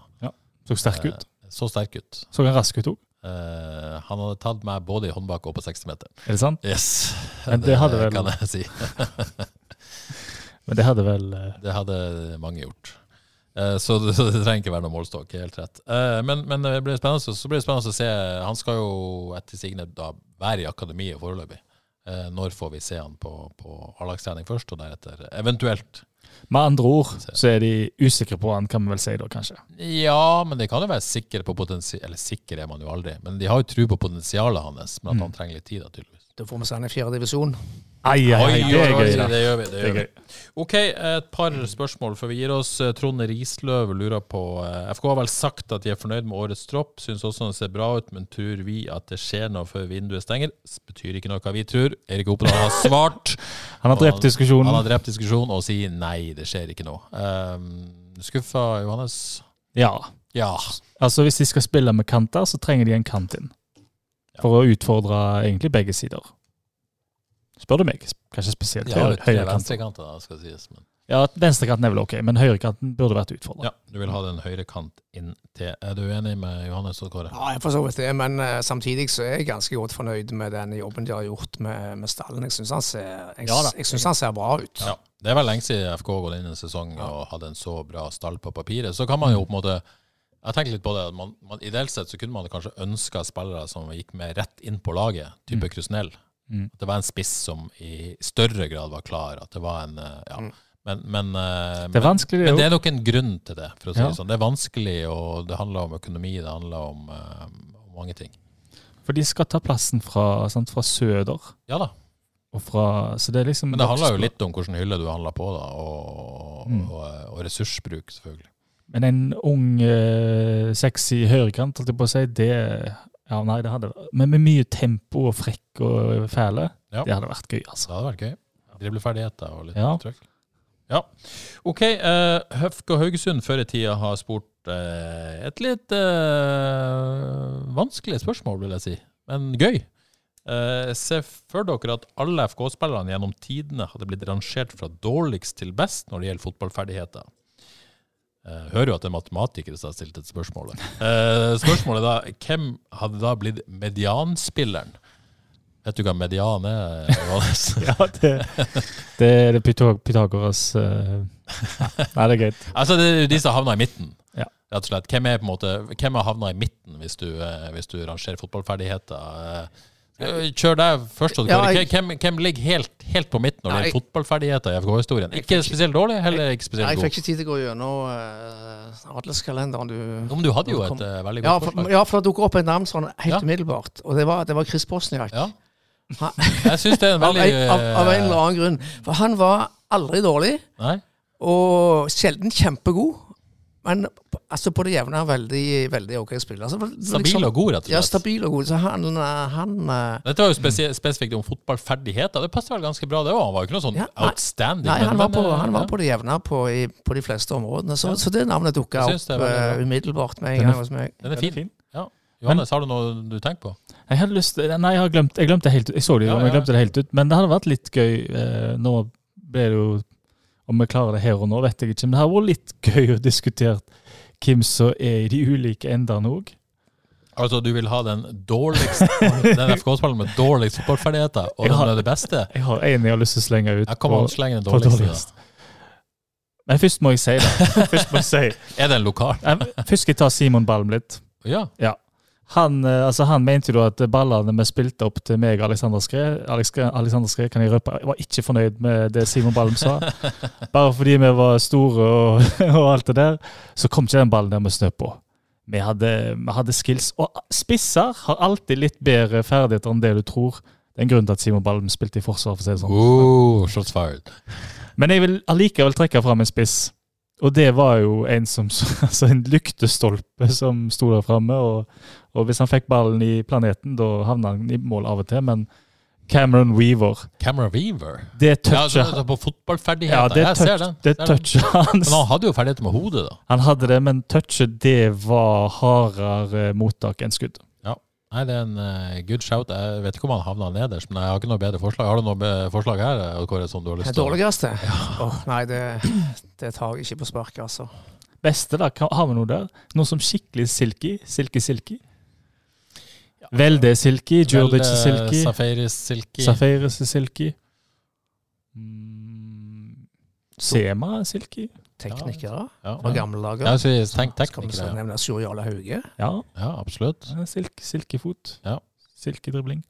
så sterk ut. Så sterk ut. Så han rask ut òg. Eh, han hadde tatt meg både i håndbak og på 60-meter. Er det sant? Yes. Men det hadde vel- kan jeg si. Men det hadde vel eh, Det hadde mange gjort. Eh, Så det, så det trenger ikke være noen målestokk. Helt rett. Eh, Men, men det blir spennende, så blir det spennende å se. Han skal jo etter sigende da være i akademiet foreløpig. Eh, Når får vi se han på, på A-lagstrening først, og deretter eventuelt? Med andre ord så er de usikre på han, kan vi vel si da, kanskje. Ja, men de kan jo være sikre på potensial Eller sikker er man jo aldri, men de har jo tro på potensialet hans. Men Mm. at han trenger litt tid, da, tydeligvis. Da får vi se han i fjerde divisjon. Ai, ai, ai, det er gøy. oi, da. det gjør vi. Det Det gjør er vi. gøy. Ok, et par Mm. spørsmål før vi gir oss. eh, Trond Risløv lurer på eh, FK har vel sagt at de er fornøyd med årets tropp. Syns også den ser bra ut, men tror vi at det skjer noe før vinduet stenger? S- Betyr ikke noe hva vi tror. Erik Opedal har svart. Han har Og drept Han har diskusjonen. drept diskusjonen og sier nei, det skjer ikke noe. Um, skuffa, Johannes? Ja. Ja. Altså, hvis de skal spille med kanter, så trenger de en kant inn. For å utfordre egentlig begge sider. Spør du meg. Kanskje spesielt De har høyre jo tre høyrekanten. venstrekanter, da, skal sies. Men. Ja, venstrekanten er vel ok, men høyrekanten burde vært utfordra. Ja, du vil ha den høyrekant inn til. Er du enig med Johannes og Kåre? Ja, jeg for så vidt det, men eh, samtidig så er jeg ganske godt fornøyd med den jobben de har gjort med, med stallen. Jeg syns han, ser- jeg, Ja da. jeg synes han ser bra ut. Ja, Det er vel lenge siden FK har gått inn i en sesong og hadde en så bra stall på papiret. Så kan man jo på en måte Jeg tenker litt på det. at Man, man, ideelt sett så kunne man kanskje ønska spillere som gikk med rett inn på laget, type Krusnell. Mm. At det var en spiss som i større grad var klar. At det var en eh, Ja. Men, men, eh, men, Det er vanskelig, men det det òg. er nok en grunn til det. for å si Ja. Det sånn. Det er vanskelig, og det handler om økonomi, det handler om, eh, om mange ting. For de skal ta plassen fra, sant, fra søder. Ja da, Og fra, så det er liksom men det handler jo litt om hvilken hylle du handler på, da, og, Mm. og, og ressursbruk, selvfølgelig. Men en ung, eh, sexy høyrekant, holdt jeg på å si, det Ja, nei, det hadde Men med mye tempo og frekk og fæle, Ja. det hadde vært gøy, Så altså. det hadde vært gøy. Dribleferdigheter og litt Ja. trøkk. Ja. OK. eh, HFK Haugesund før i tida har spurt eh, et litt eh, vanskelig spørsmål, vil jeg si, men gøy. Eh, se for dere at alle FK-spillerne gjennom tidene hadde blitt rangert fra dårligst til best når det gjelder fotballferdigheter. Eh, hører jo at det er matematikere som har stilt et spørsmål. Eh, spørsmålet da, hvem hadde da blitt medianspilleren? Vet du hva median er, Johannes? Ja, det, det er det Pythag Pythagoras eh, Nei, det er greit. Altså, det er jo de som havner i midten. Ja. Rett og slett. Hvem er på en måte, hvem har havna i midten hvis du, eh, hvis du rangerer fotballferdigheter? Eh, Kjør deg først. Odd Ja, Kåre. jeg- hvem, hvem ligger helt, helt på midten når det Nei, gjelder fotballferdigheter i FK-historien? Ikke spesielt dårlig, heller ikke Nei, spesielt jeg fikk god. ikke tid til å gå gjennom uh, adelskalenderen du Jo, Men du hadde jo Nå kom- et eh, veldig ja godt for, forslag. ja, for det dukker opp et navn sånn helt Ja. umiddelbart, og det var, det var Chris Bosniak. Ja. Ha- Jeg syns det er en Av, veldig en- av, av en eller eh, annen grunn. For han var aldri dårlig, Nei? og sjelden kjempegod. Men p- altså på det jevne er han veldig, veldig ok spiller. Altså, Stabil og god, rett Ja, og slett. stabil og god. Så han, eh, han eh, Dette var jo spesi spesifikt om fotballferdigheter. Det passet vel ganske bra, det òg. Han var jo ikke noe sånn Ja, nei. outstanding. Nei, men- han var på, men, eh, han var ja. på det jevne på, i, på de fleste områdene. Så, Ja. så det navnet dukka Jeg synes opp det er veldig eh, bra. umiddelbart med en Den er gang hos meg. Den er Den er fin. fin. Ja. Johannes, har du noe du tenker på? Jeg hadde lyst til Nei, jeg har glemt, jeg glemte det helt ut. Jeg så det jo, Ja, men jeg ja. glemte det helt ut. Men det hadde vært litt gøy. eh, Nå ble det jo Om vi klarer det her og nå, vet jeg ikke. Men det hadde vært litt gøy å diskutere hvem som er i de ulike endene òg. Altså, du vil ha den dårligste Den FK-spilleren med dårligst fotballferdigheter, og Ja. den er det beste? Jeg har en jeg har lyst til å slenge ut. Jeg kommer til på- å slenge den på dårligste. dårligst. Men først må jeg si det. Først må jeg si. Er det en lokal? Em, Først skal jeg ta Simon Balm litt. Ja. Han, eh, altså, han mente jo da at ballene vi spilte opp til meg og Alexander Skræ Alex Skræ- Alexander Skræ, kan jeg røpe, jeg var ikke fornøyd med det Simon Balm sa. Bare fordi vi var store og, og alt det der, så kom ikke den ballen der med snø på. Vi hadde, vi hadde skills. Og spisser har alltid litt bedre ferdigheter enn det du tror. Det er en grunn til at Simon Balm spilte i forsvar, for å si det sånn. Oh, shots fired. Men jeg vil allikevel trekke fram en spiss. Og det var jo en som altså en lyktestolpe som sto der framme. Og, og hvis han fikk ballen i planeten, da havna han i mål av og til. Men Cameron Weaver, Cameron Weaver. det Ja, du touchet er på fotballferdigheter. ja, det jeg ser den. touch- det Ser den. touchet hans. Men han hadde jo ferdigheter med hodet, da. Han hadde det, men touchet det var hardere mottak enn skudd. Nei, det er en eh, good shout. Jeg vet ikke om han havna nederst, men jeg har ikke noe bedre forslag. Har du noe be- forslag her, eh, Kåre, som du har lyst Det til å dårligste? Åh, nei, det, det tar jeg ikke på sparket, altså. Beste, da. Kan- Har vi noe der? Noe som skikkelig silky? Silky, silky? Velde silky? Jordic Vel, eh, silky? Safaris Silky. Safaris er silky. Mm, Sema er silky. Teknikere Ja, fra ja. gamle dager. Ja, så jeg tenk Skal vi så teknikere. nevne Sjur Jarle Hauge? Ja, Ja, absolutt. det er silk, silkefot. Ja. Silkedribling.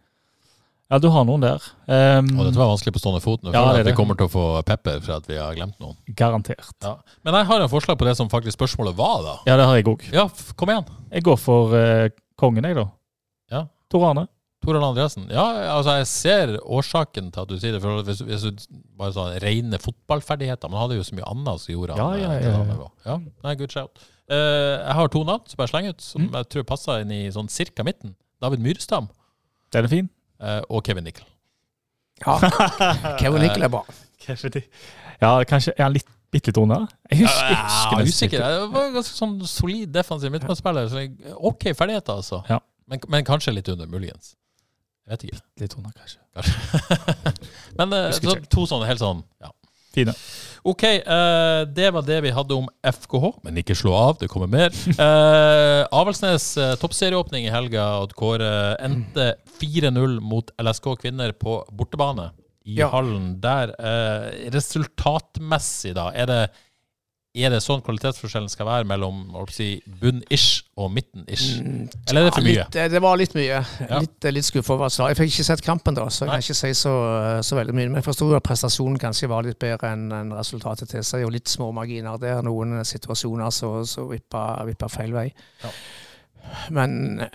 Ja, du har noen der. Ehm, Og dette var vanskelig på stående fot. Nå, Ja, for det er at vi det. kommer til å få pepper for at vi har glemt noen. garantert. Ja. Men jeg har en forslag på det som faktisk spørsmålet var, da. Ja, det har jeg òg. Ja, f- kom igjen. Jeg går for eh, kongen, jeg, da. Ja. Tor Arne. Torald Andreassen. Ja, altså jeg ser årsaken til at du sier det. for Hvis, hvis du bare sa rene fotballferdigheter Men han hadde jo så mye annet som gjorde han Ja, ja, eh, ja, til ja. han han var. ja. Nei, good shout. Eh, jeg har to navn som jeg slenger ut, Mm. som jeg tror passer inn i sånn cirka midten. David Myrestam Den er fin. eh, og Kevin Nickel. Ja. Kevin Nickel er bra. Ja, kanskje er han litt, bitte litt under? Jeg husker, jeg Jeg husker er nesten usikker. ikke. Det var en ganske sånn solid defensiv midtbanespiller. så jeg- OK ferdigheter, altså. Ja. Men, men kanskje litt under, muligens. Jeg vet ikke. Litt under, kanskje. Men eh, Husker så, to sånne helt sånn ja. Fine. Ok, eh, det var det vi hadde om FKH. Men ikke slå av, det kommer mer. Eh, Avaldsnes eh, toppserieåpning i helga. Odd Kåre endte 4-0 mot LSK kvinner på bortebane i Ja. hallen der. Eh, resultatmessig, da, er det, er det sånn kvalitetsforskjellen skal være mellom hva skal jeg si, bunn-ish og midten-ish? Eller er det for Mm, Ja, mye? Litt, eh, det var litt mye. Ja. Litt, eh, litt skuffa over svaret. Jeg fikk ikke sett kampen, da, så jeg kan ikke si så, eh, så veldig mye. Men jeg forsto at prestasjonen kanskje var litt bedre enn enn resultatet til seg, og litt små marginer der. Noen situasjoner så, så vippa, vippa feil vei. Ja. Men eh,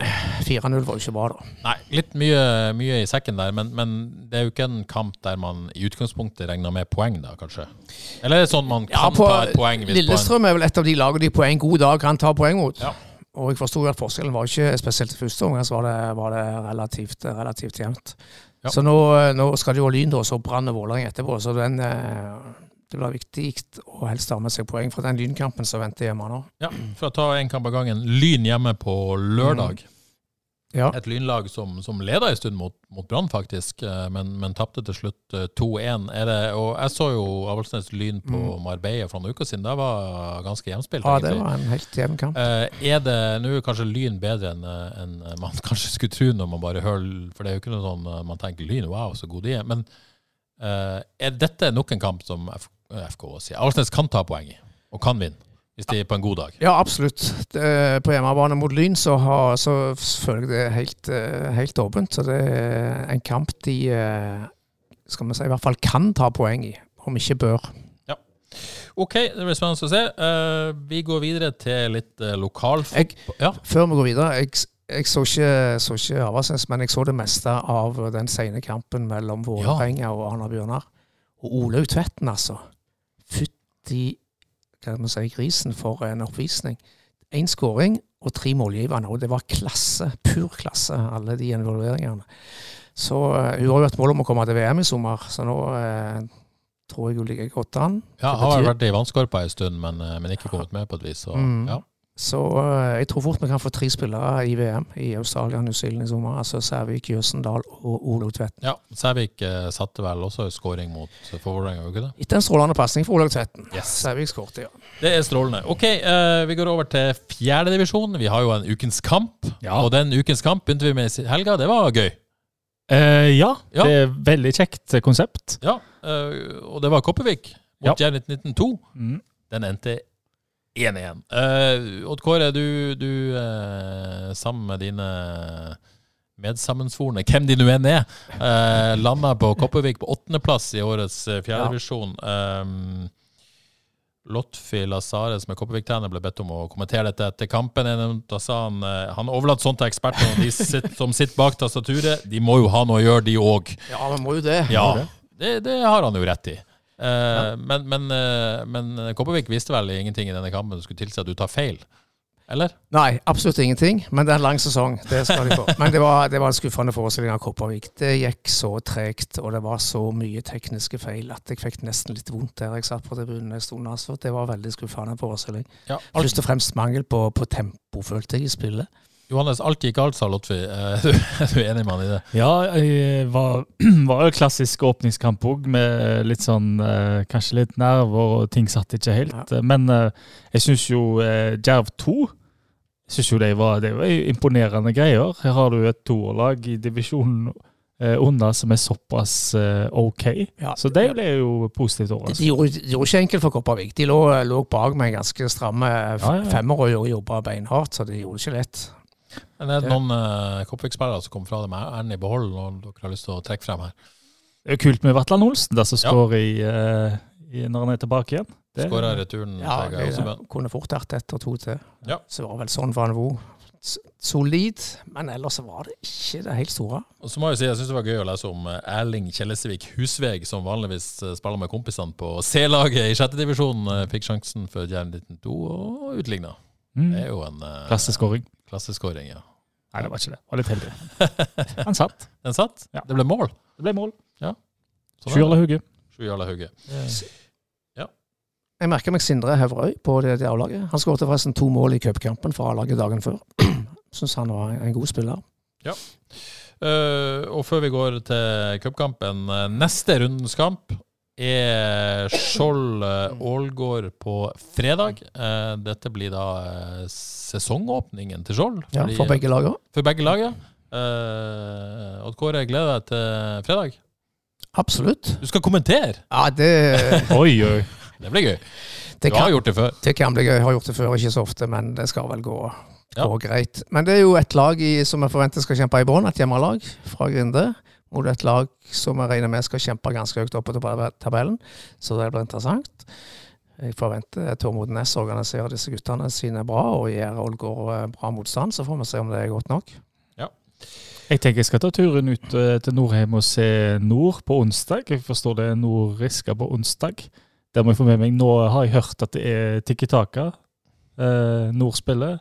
4-0 var jo ikke bra, da. Nei, litt mye, mye i sekken der, men, men det er jo ikke en kamp der man i utgangspunktet regner med poeng, da, kanskje? Eller er det sånn man kan på ta et poeng hvis Lillestrøm er vel et av de lagene de på en god dag kan ta poeng mot. Ja. Og jeg forsto at forskjellen var ikke spesielt i første omgang, så var det, var det relativt, relativt jevnt. Ja. Så nå, nå skal det jo Lyn, da, så Brann og Vålerenga etterpå. Så den, eh, det blir viktig å helst ta med seg poeng fra den Lynkampen som venter hjemme nå. Ja, for å ta en kamp av gangen. Lyn hjemme på lørdag. Mm. Ja. Et lynlag som, som leda en stund mot, mot Brann, faktisk, eh, men, men tapte til slutt eh, 2-1. Er det- Og jeg så jo Avaldsnes Lyn på Marbella for noen uker siden. Det var ganske jevnspilt. Mm. ja, det egentlig. var en helt jevn kamp. Eh, er det nå er kanskje lyn bedre enn eh, enn man kanskje skulle tro når man bare hører For det er jo ikke noe sånn eh, man tenker lyn, wow, så gode de er. Men eh, er dette nok en kamp som F FK sier Avaldsnes kan ta poeng i, og kan vinne, hvis de er på en god dag? Ja, absolutt. Det, på hjemmebane mot Lyn så, har, så føler jeg det er helt, eh, helt åpent. Så det er en kamp de eh, skal vi si, i hvert fall kan ta poeng i, om ikke bør. OK, det blir spennende å se. Eh, vi går videre til litt uh, lokal... Jeg, Ja. Før vi går videre, jeg, jeg så ikke, så ikke Avaldsnes, men jeg så det meste av den sene kampen mellom Vålerenga og Arna Bjørnar. Og Olaug Tvetten, altså. Fytti hva skal man si, grisen for en oppvisning. Én skåring og tre målgivende, og det var klasse, pur klasse, alle de involveringene. Så eh, hun har jo et mål om å komme til VM i sommer, så nå eh, tror jeg hun ligger godt an. Ja, det har betyr- vært i vannskorpa en stund, men, eh, men ikke kommet med på et vis. Så, Mm. ja. Så eh, jeg tror fort vi kan få tre spillere i VM i Australia og New Zealand i sommer. Altså Sævik, Jøsendal og Olaug Tvetten. ja. Sævik eh, satte vel også en scoring mot eh, for Vålerenga, gjorde hun ikke det? Etter en strålende pasning for Olaug Tvetten. Yes. Sævik skåret, ja. Det er strålende. Ok, eh, Vi går over til fjerdedivisjon. Vi har jo en ukens kamp. Og den ukens kamp begynte vi med i helga. Det var gøy. Eh, ja, Ja. det er veldig kjekt konsept. Ja, eh, Og det var Kopervik mot Janet 1902. Mm. Den endte 1-1. Eh, Odd Kåre, du, du eh, sammen med dine medsammensvorne, hvem de nå enn er, eh, landa på Kopervik på åttendeplass i årets eh, fjerdedivisjon. Eh, Lotfi Lazares med Kopervik-trener ble bedt om å kommentere dette etter kampen. Da sa han eh, han overlater sånt til ekspertene og de sitt, som sitter bak tastaturet. De må jo ha noe å gjøre, de òg. Ja, vi må jo det. Ja, det, det har han jo rett i. Eh, Men, men, eh, men Kopervik visste vel ingenting i denne kampen som skulle tilsi at du tar feil, eller? Nei, absolutt ingenting. Men det er en lang sesong. Det skal de få. Men det var, det var en skuffende forestilling av Kopervik. Det gikk så tregt, og det var så mye tekniske feil at jeg fikk nesten litt vondt der jeg satt på tribunen en stund. Altså. Det var en veldig skuffende forestilling. Ja, alt, Først og fremst mangel på, på tempo, følte jeg, i spillet. Johannes, alt gikk galt, sa Lotfi. Eh, Du, er du enig med han i det? Ja, jeg var, var jo klassisk åpningskamp òg, med litt sånn eh, Kanskje litt nerver, og ting satt ikke helt. Men eh, jeg syns jo eh, Djerv 2 jeg synes jo det var, det var imponerende greier. Her har du et toerlag i divisjonen eh, under som er såpass eh, OK. Ja. Så det ble jo positivt De overraskende. gjorde, de gjorde ikke enkelt for Kopervik. De lå, lå bak med en ganske stramme f- Ja, ja, ja. femmer og gjorde- jobba beinhardt, så de gjorde det ikke lett. Men er det Det- noen eh, Kopervik-spillere som kom fra det med æren i behold, og dere har lyst til å trekke frem her? Det er jo kult med Vatland Olsen, der som Ja. skårer i, eh, i, når han er tilbake igjen. Det- Skåra returen Ja, til Geir det Osemann. kunne fort vært ett og to til. Ja. Så det var vel sånn for Anvo. S- Solid, men ellers så var det ikke det helt store. Og så må jeg jo si, jeg syns det var gøy å lese om eh, Erling Kjellesevik Husveg, som vanligvis eh, spiller med kompisene på C-laget i sjette divisjon, eh, fikk sjansen for Jern 19-2 og utligna. Det Mm. er jo en eh, Klasseskåring. klasseskåring, ja. Nei, det var ikke det. Det var litt heldig. Han satt. Den satt. Ja. Det ble mål. Det ble mål. Sånn er Sjur det. eller hugge. Sju Jarle Hauge. Jeg merker meg Sindre Hevrøy på det, det A-laget. Han skåret forresten to mål i cupkampen for A-laget dagen før. Syns han var en god spiller. Eh, og før vi går til cupkampen, eh, neste rundens kamp er Skjold eh, Ålgård på fredag. Eh, dette blir da eh, sesongåpningen til Skjold Ja, fordi- for begge lag òg. for begge lag. ja. Eh, Odd Kåre, gleder deg til fredag. Absolutt. Du skal kommentere! Ja, det, Oi, oi. Det blir gøy. det Du har kan gjort det før. Det kan bli gøy. Jeg har gjort det før, ikke så ofte, men det skal vel gå, Ja. gå greit. Men det er jo et lag i, som jeg forventer skal kjempe i bånn, et hjemmelag fra Grinde. Mot et lag som jeg regner med skal kjempe ganske høyt oppe på tab- tabellen, så det blir interessant. Jeg forventer Tormod Næss organiserer disse guttene sine bra og gjør Ålgård eh, bra motstand. Så får vi se om det er godt nok. Jeg tenker jeg skal ta turen ut eh, til Nordheim og se Nord på onsdag. Jeg forstår det er Nordriska på onsdag. Der må jeg få med meg. Nå har jeg hørt at det er Tikki Taka, eh, Nord-spillet.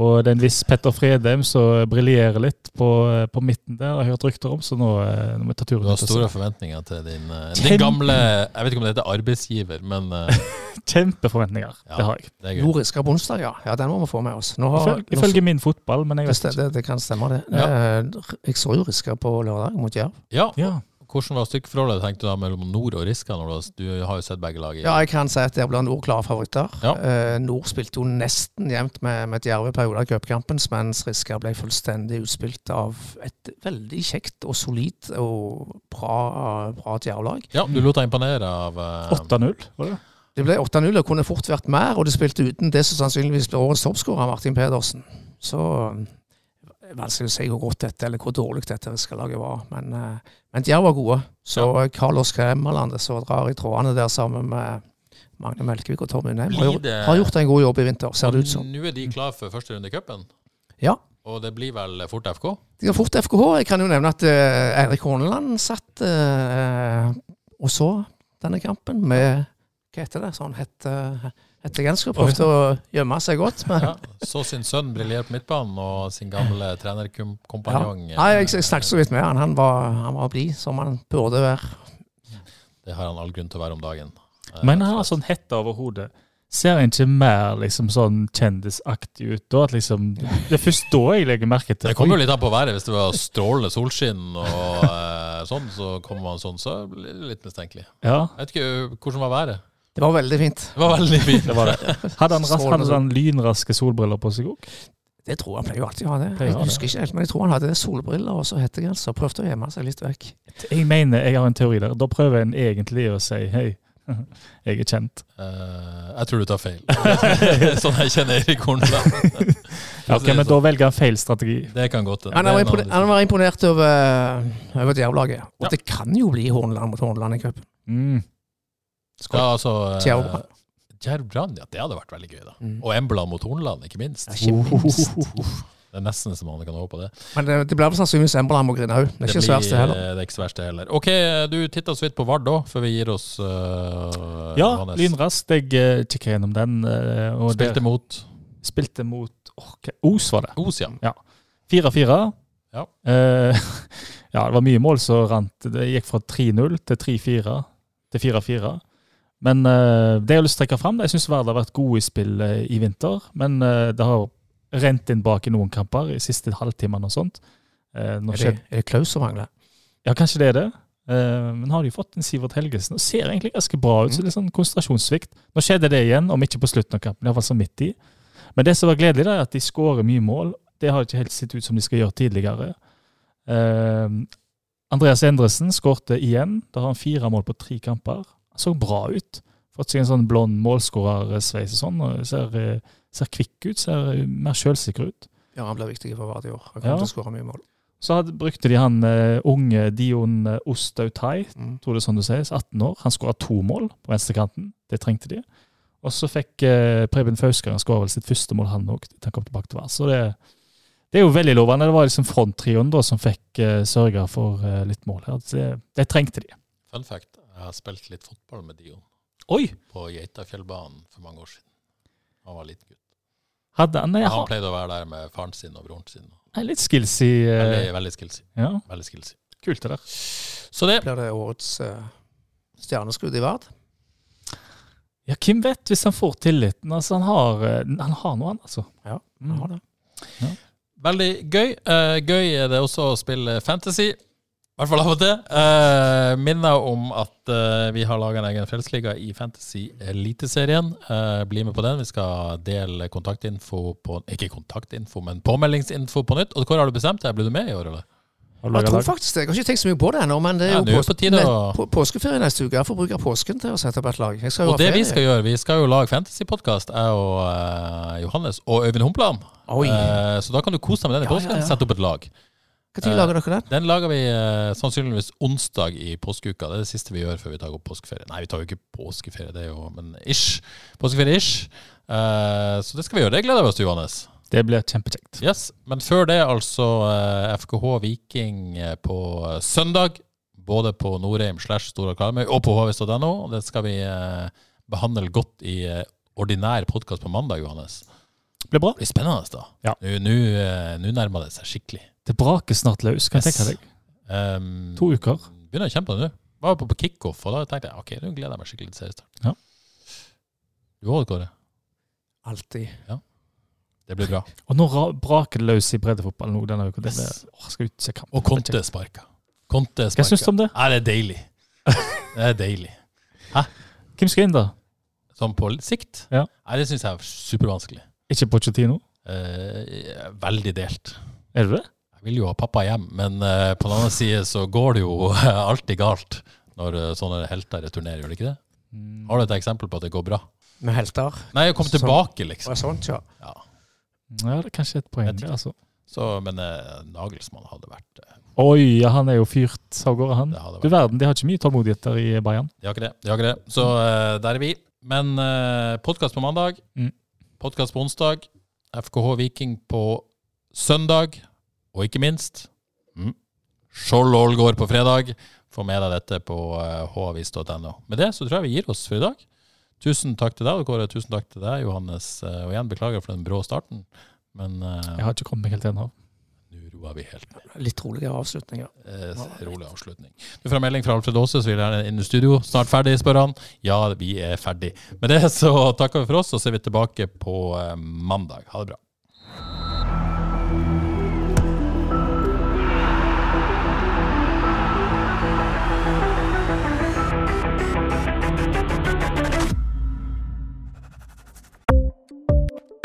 Og det er en viss Petter Fredheim som briljerer litt på, eh, på midten der, har jeg hørt rykter om. Så nå, eh, nå må jeg ta Du turen har ut og store se. forventninger til din, eh, Kjempe- din gamle Jeg vet ikke om det heter arbeidsgiver, men eh, Kjempeforventninger. Ja. Det har jeg. det er gøy. Norisk av onsdag, ja. ja. Den må vi få med oss. Nå har, Ifølge, ifølge min fotball, men jeg nå, vet det, ikke. det, det kan stemme, det. Ja. Eh, Jeg så jo Riska på lørdag mot Jerv. Ja, Ja. Hvordan var stykkeforholdet tenkte du da mellom Nord og Riska? Når du, har- du har jo sett begge lag i Ja, jeg kan si at der blir Nord klare favoritter. Ja. Eh, Nord spilte jo nesten jevnt med, med et djerve periode av cupkampens, mens Riska ble fullstendig utspilt av et veldig kjekt og solid og bra, bra djervlag. Ja, du lot deg imponere av eh, 8-0, var det? Det ble 8-0 og kunne fort vært mer, og det spilte uten det som sannsynligvis blir årets toppskårer, Martin Pedersen. Så eh, vanskelig å si hvor godt dette, eller hvor dårlig dette Riska-laget var. Men, eh, men Djerv var gode. Så eh, Carlos Kremeland så drar i trådene der sammen med Magne Melkevik og Tom Undheim. Har, Blir gjort- det- Mm. har gjort en god jobb i vinter, ser det ut som. Mm. Nå er de klar for første runde i cupen, Ja. og det blir vel fort FK? De har fort FKH. Jeg kan jo nevne at eh, Eirik Horneland satt eh, og så denne kampen med Hva heter det? Sånn hette, hettegenser. Prøvde å gjemme seg godt. Men, Ja. Så sin sønn briljere på midtbanen, og sin gamle trenerkompanjong eh, Nei, jeg, jeg snakket så vidt med han. Han var, han var blid, som han burde være. eh, Det har han all grunn til å være om dagen. Eh, Men han har sånn hette over hodet. Ser han ikke mer liksom sånn kjendisaktig ut da? At liksom, det er først da jeg legger merke til Det kommer jo litt an på været. Hvis det var strålende solskinn og eh, sånn, så kommer man sånn, så blir det litt mistenkelig. Ja, Jeg vet ikke eh, hvordan var været. Det var veldig fint. Det var veldig fint. det var det. Hadde han, ras, Strålende hadde han lynraske solbriller på seg òg? Det tror jeg han pleier jo alltid å ha. det. Pleier å Jeg ha det. husker ikke helt, men jeg tror han hadde solbriller og så altså. hettegenser. Prøvde å gjemme seg litt vekk. Jeg mener, jeg har en teori der. Da prøver en egentlig å si hei, Jeg er kjent. Eh, jeg tror du tar feil. sånn jeg kjenner Erik Horneland. Ja, ok, Men da velger han feil strategi. Det kan godt hende. Han Det var, er imponert, en annen han var imponert over, over Djervlaget. Og Ja. det kan jo bli Hornland mot Hornland i cupen. Mm. diskusjon. Ja, altså, eh, Djerv Brann. Djerv Brann, ja, det hadde vært veldig gøy, da. Mm. Og Embla mot Hornland, ikke minst. Ja, ikke minst. Uff, det er nesten så man kan håpe på det. Men det, det blir vel sannsynligvis Embla mot Grindhaug. Det er ikke det blir- eh, sværeste heller. Det er ikke så verst, det heller. OK, du titta så vidt på Vard òg, før vi gir oss øh, Ja, Johannes. lynraskt. Jeg eh, kikket gjennom den. eh, Og der- Spilte mot spilte mot åh, hva- Os, var det. Os, ja. 4-4. Ja. Eh, ja, det var mye mål som rant. Det gikk fra 3-0 til 3-4 til 4-4. Men eh, det jeg har lyst til å trekke fram, det er jeg syns Vard har vært gode i spill eh, i vinter. Men eh, det har rent inn bak i noen kamper i siste halvtimene og sånt. Eh, nå Er det, skjedde er det Klaus som mangler? Ja, kanskje det er det. Eh, men har de fått en Sivert Helgesen? Og ser egentlig ganske bra ut. så det er sånn konsentrasjonssvikt. Nå skjedde det igjen, om ikke på slutten av kampen. i hvert fall så midt i. Men det som var gledelig, da, er at de skårer mye mål. Det har ikke helt sett ut som de skal gjøre tidligere. Eh, Andreas Endresen skårte igjen. Da har han fire mål på tre kamper. Han så bra ut. Fått seg en sånn blond målskårersveis og sånn. og ser, eh, ser kvikk ut, ser eh, mer sjølsikker ut. Ja, han blir viktig for Vard i år. Han Ja. kommer til å skåre mye mål. Så hadde, brukte de han eh, unge Dion eh, Ostautai, Mm. tror det er sånn det sies, 18 år. Han skåra to mål på venstrekanten. Det trengte de. Og så fikk eh, Preben Fauskar skåra vel sitt første mål, han òg. Han kom tilbake til hver. Så det, det er jo veldig lovende. Det var liksom fronttrioen da som fikk eh, sørga for eh, litt mål her. Så Det, det trengte de. Fun fact, jeg har spilt litt fotball med Dion Oi! på Geitafjellbanen for mange år siden. Han var liten gutt. Hadde han, nei, Han han pleide å være der med faren sin og broren sin. er litt skillsy. Eh, Veldig, veldig skillsy. ja, Veldig skillsy. kult det der. Så det Blir det årets eh, stjerneskudd i Vard? Ja, hvem vet, hvis han får tilliten. Altså, han har, eh, han har noe, han, altså. Ja, Mm. Ja, det. Veldig gøy. Eh, gøy er det også å spille fantasy. I hvert fall av og til. Eh, minner om at eh, vi har laga en egen fellesliga i Fantasy Eliteserien. Eh, bli med på den. Vi skal dele kontaktinfo på Ikke kontaktinfo, men påmeldingsinfo på nytt. Og Kåre, har du bestemt deg? Blir du med i år, eller? Har du Jeg laget tror lag? faktisk det. Jeg har ikke tenkt så mye på det ennå, men det er Ja, jo nå er det pås- på tide å- nett- på, påskeferie neste uke. Jeg får bruke påsken til å sette opp et lag. Jeg skal jo Og ha det vi ferie. skal gjøre, vi skal jo lage fantasypodkast, jeg og eh, Johannes og Øyvind Humpland. Oi. Eh, så da kan du kose deg med den i Ja, ja, påsken. ja. Sette opp et lag. Hva tid lager dere den? Den lager vi eh, sannsynligvis onsdag i påskeuka. Det er det siste vi gjør før vi tar opp påskeferie. Nei, vi tar jo ikke påskeferie, det er jo Men ish. Påskeferie-ish. Eh, så det skal vi gjøre. Det gleder vi oss til, Johannes. Det blir kjempekjekt. Yes, Men før det, altså eh, FKH Viking eh, på eh, søndag. Både på Norheim slash Stora Karmøy og på hvstad.no. Det skal vi eh, behandle godt i eh, ordinær podkast på mandag, Johannes. Det blir bra. Det blir spennende, da. Ja. Nå- Nå eh, nå nærmer det seg skikkelig. Det braker snart løs, kan jeg Yes. tenke deg. Um, To uker. Begynner å kjempe nå. Var på, på kickoff, og da tenkte jeg ok, nå gleder jeg meg skikkelig til seriestart. Ja. Du òg, Kåre. Alltid. Det blir bra. Og nå ra- braker det løs i breddefotballen nå denne uka. Det blir, Yes. åh, skal ut se kamp. Og Conte sparka. Conte Hva syns du sparka. om det? Nei, det er deilig. Det er deilig. Hvem skal inn, da? Sånn på sikt. Ja. Nei, det syns jeg er supervanskelig. Ikke Pochettino? Eh, veldig delt. Er det det? Jeg vil jo ha pappa hjem, men eh, på den andre side så går det jo alltid galt når eh, sånne helter returnerer, gjør det ikke det? Mm. Har du et eksempel på at det går bra? Med helter. Nei, å komme Sånn. tilbake, Og liksom. sånt, ja. Ja. Ja, det er kanskje et poeng. Jeg tror- det, altså. Så, men eh, Nagelsmann hadde vært eh, Oi, ja, han er jo fyrt av gårde, han. Det hadde vært Du verden, de har ikke mye tålmodighet der i Bayern. De har ikke det. De har ikke det. Så eh, der er vi. Men uh, podkast på mandag, Mm. podkast på onsdag, FKH Viking på søndag, og ikke minst mm, Skjold Ålgård på fredag. Få med deg dette på eh, havis.no. Med det så tror jeg vi gir oss for i dag. Tusen takk til deg, Kåre. Tusen takk til deg, Johannes. Eh, og igjen, beklager for den brå starten, men Jeg eh, har ikke kommet meg helt ennå. nå roer vi helt Litt roligere avslutninger. Eh, rolig avslutning. Du får en melding fra Alfred Aase, så vil han inn i studio. Snart ferdig, spør han. Ja, vi er ferdig. Med det så takker vi for oss, og så er vi tilbake på eh, mandag. Ha det bra.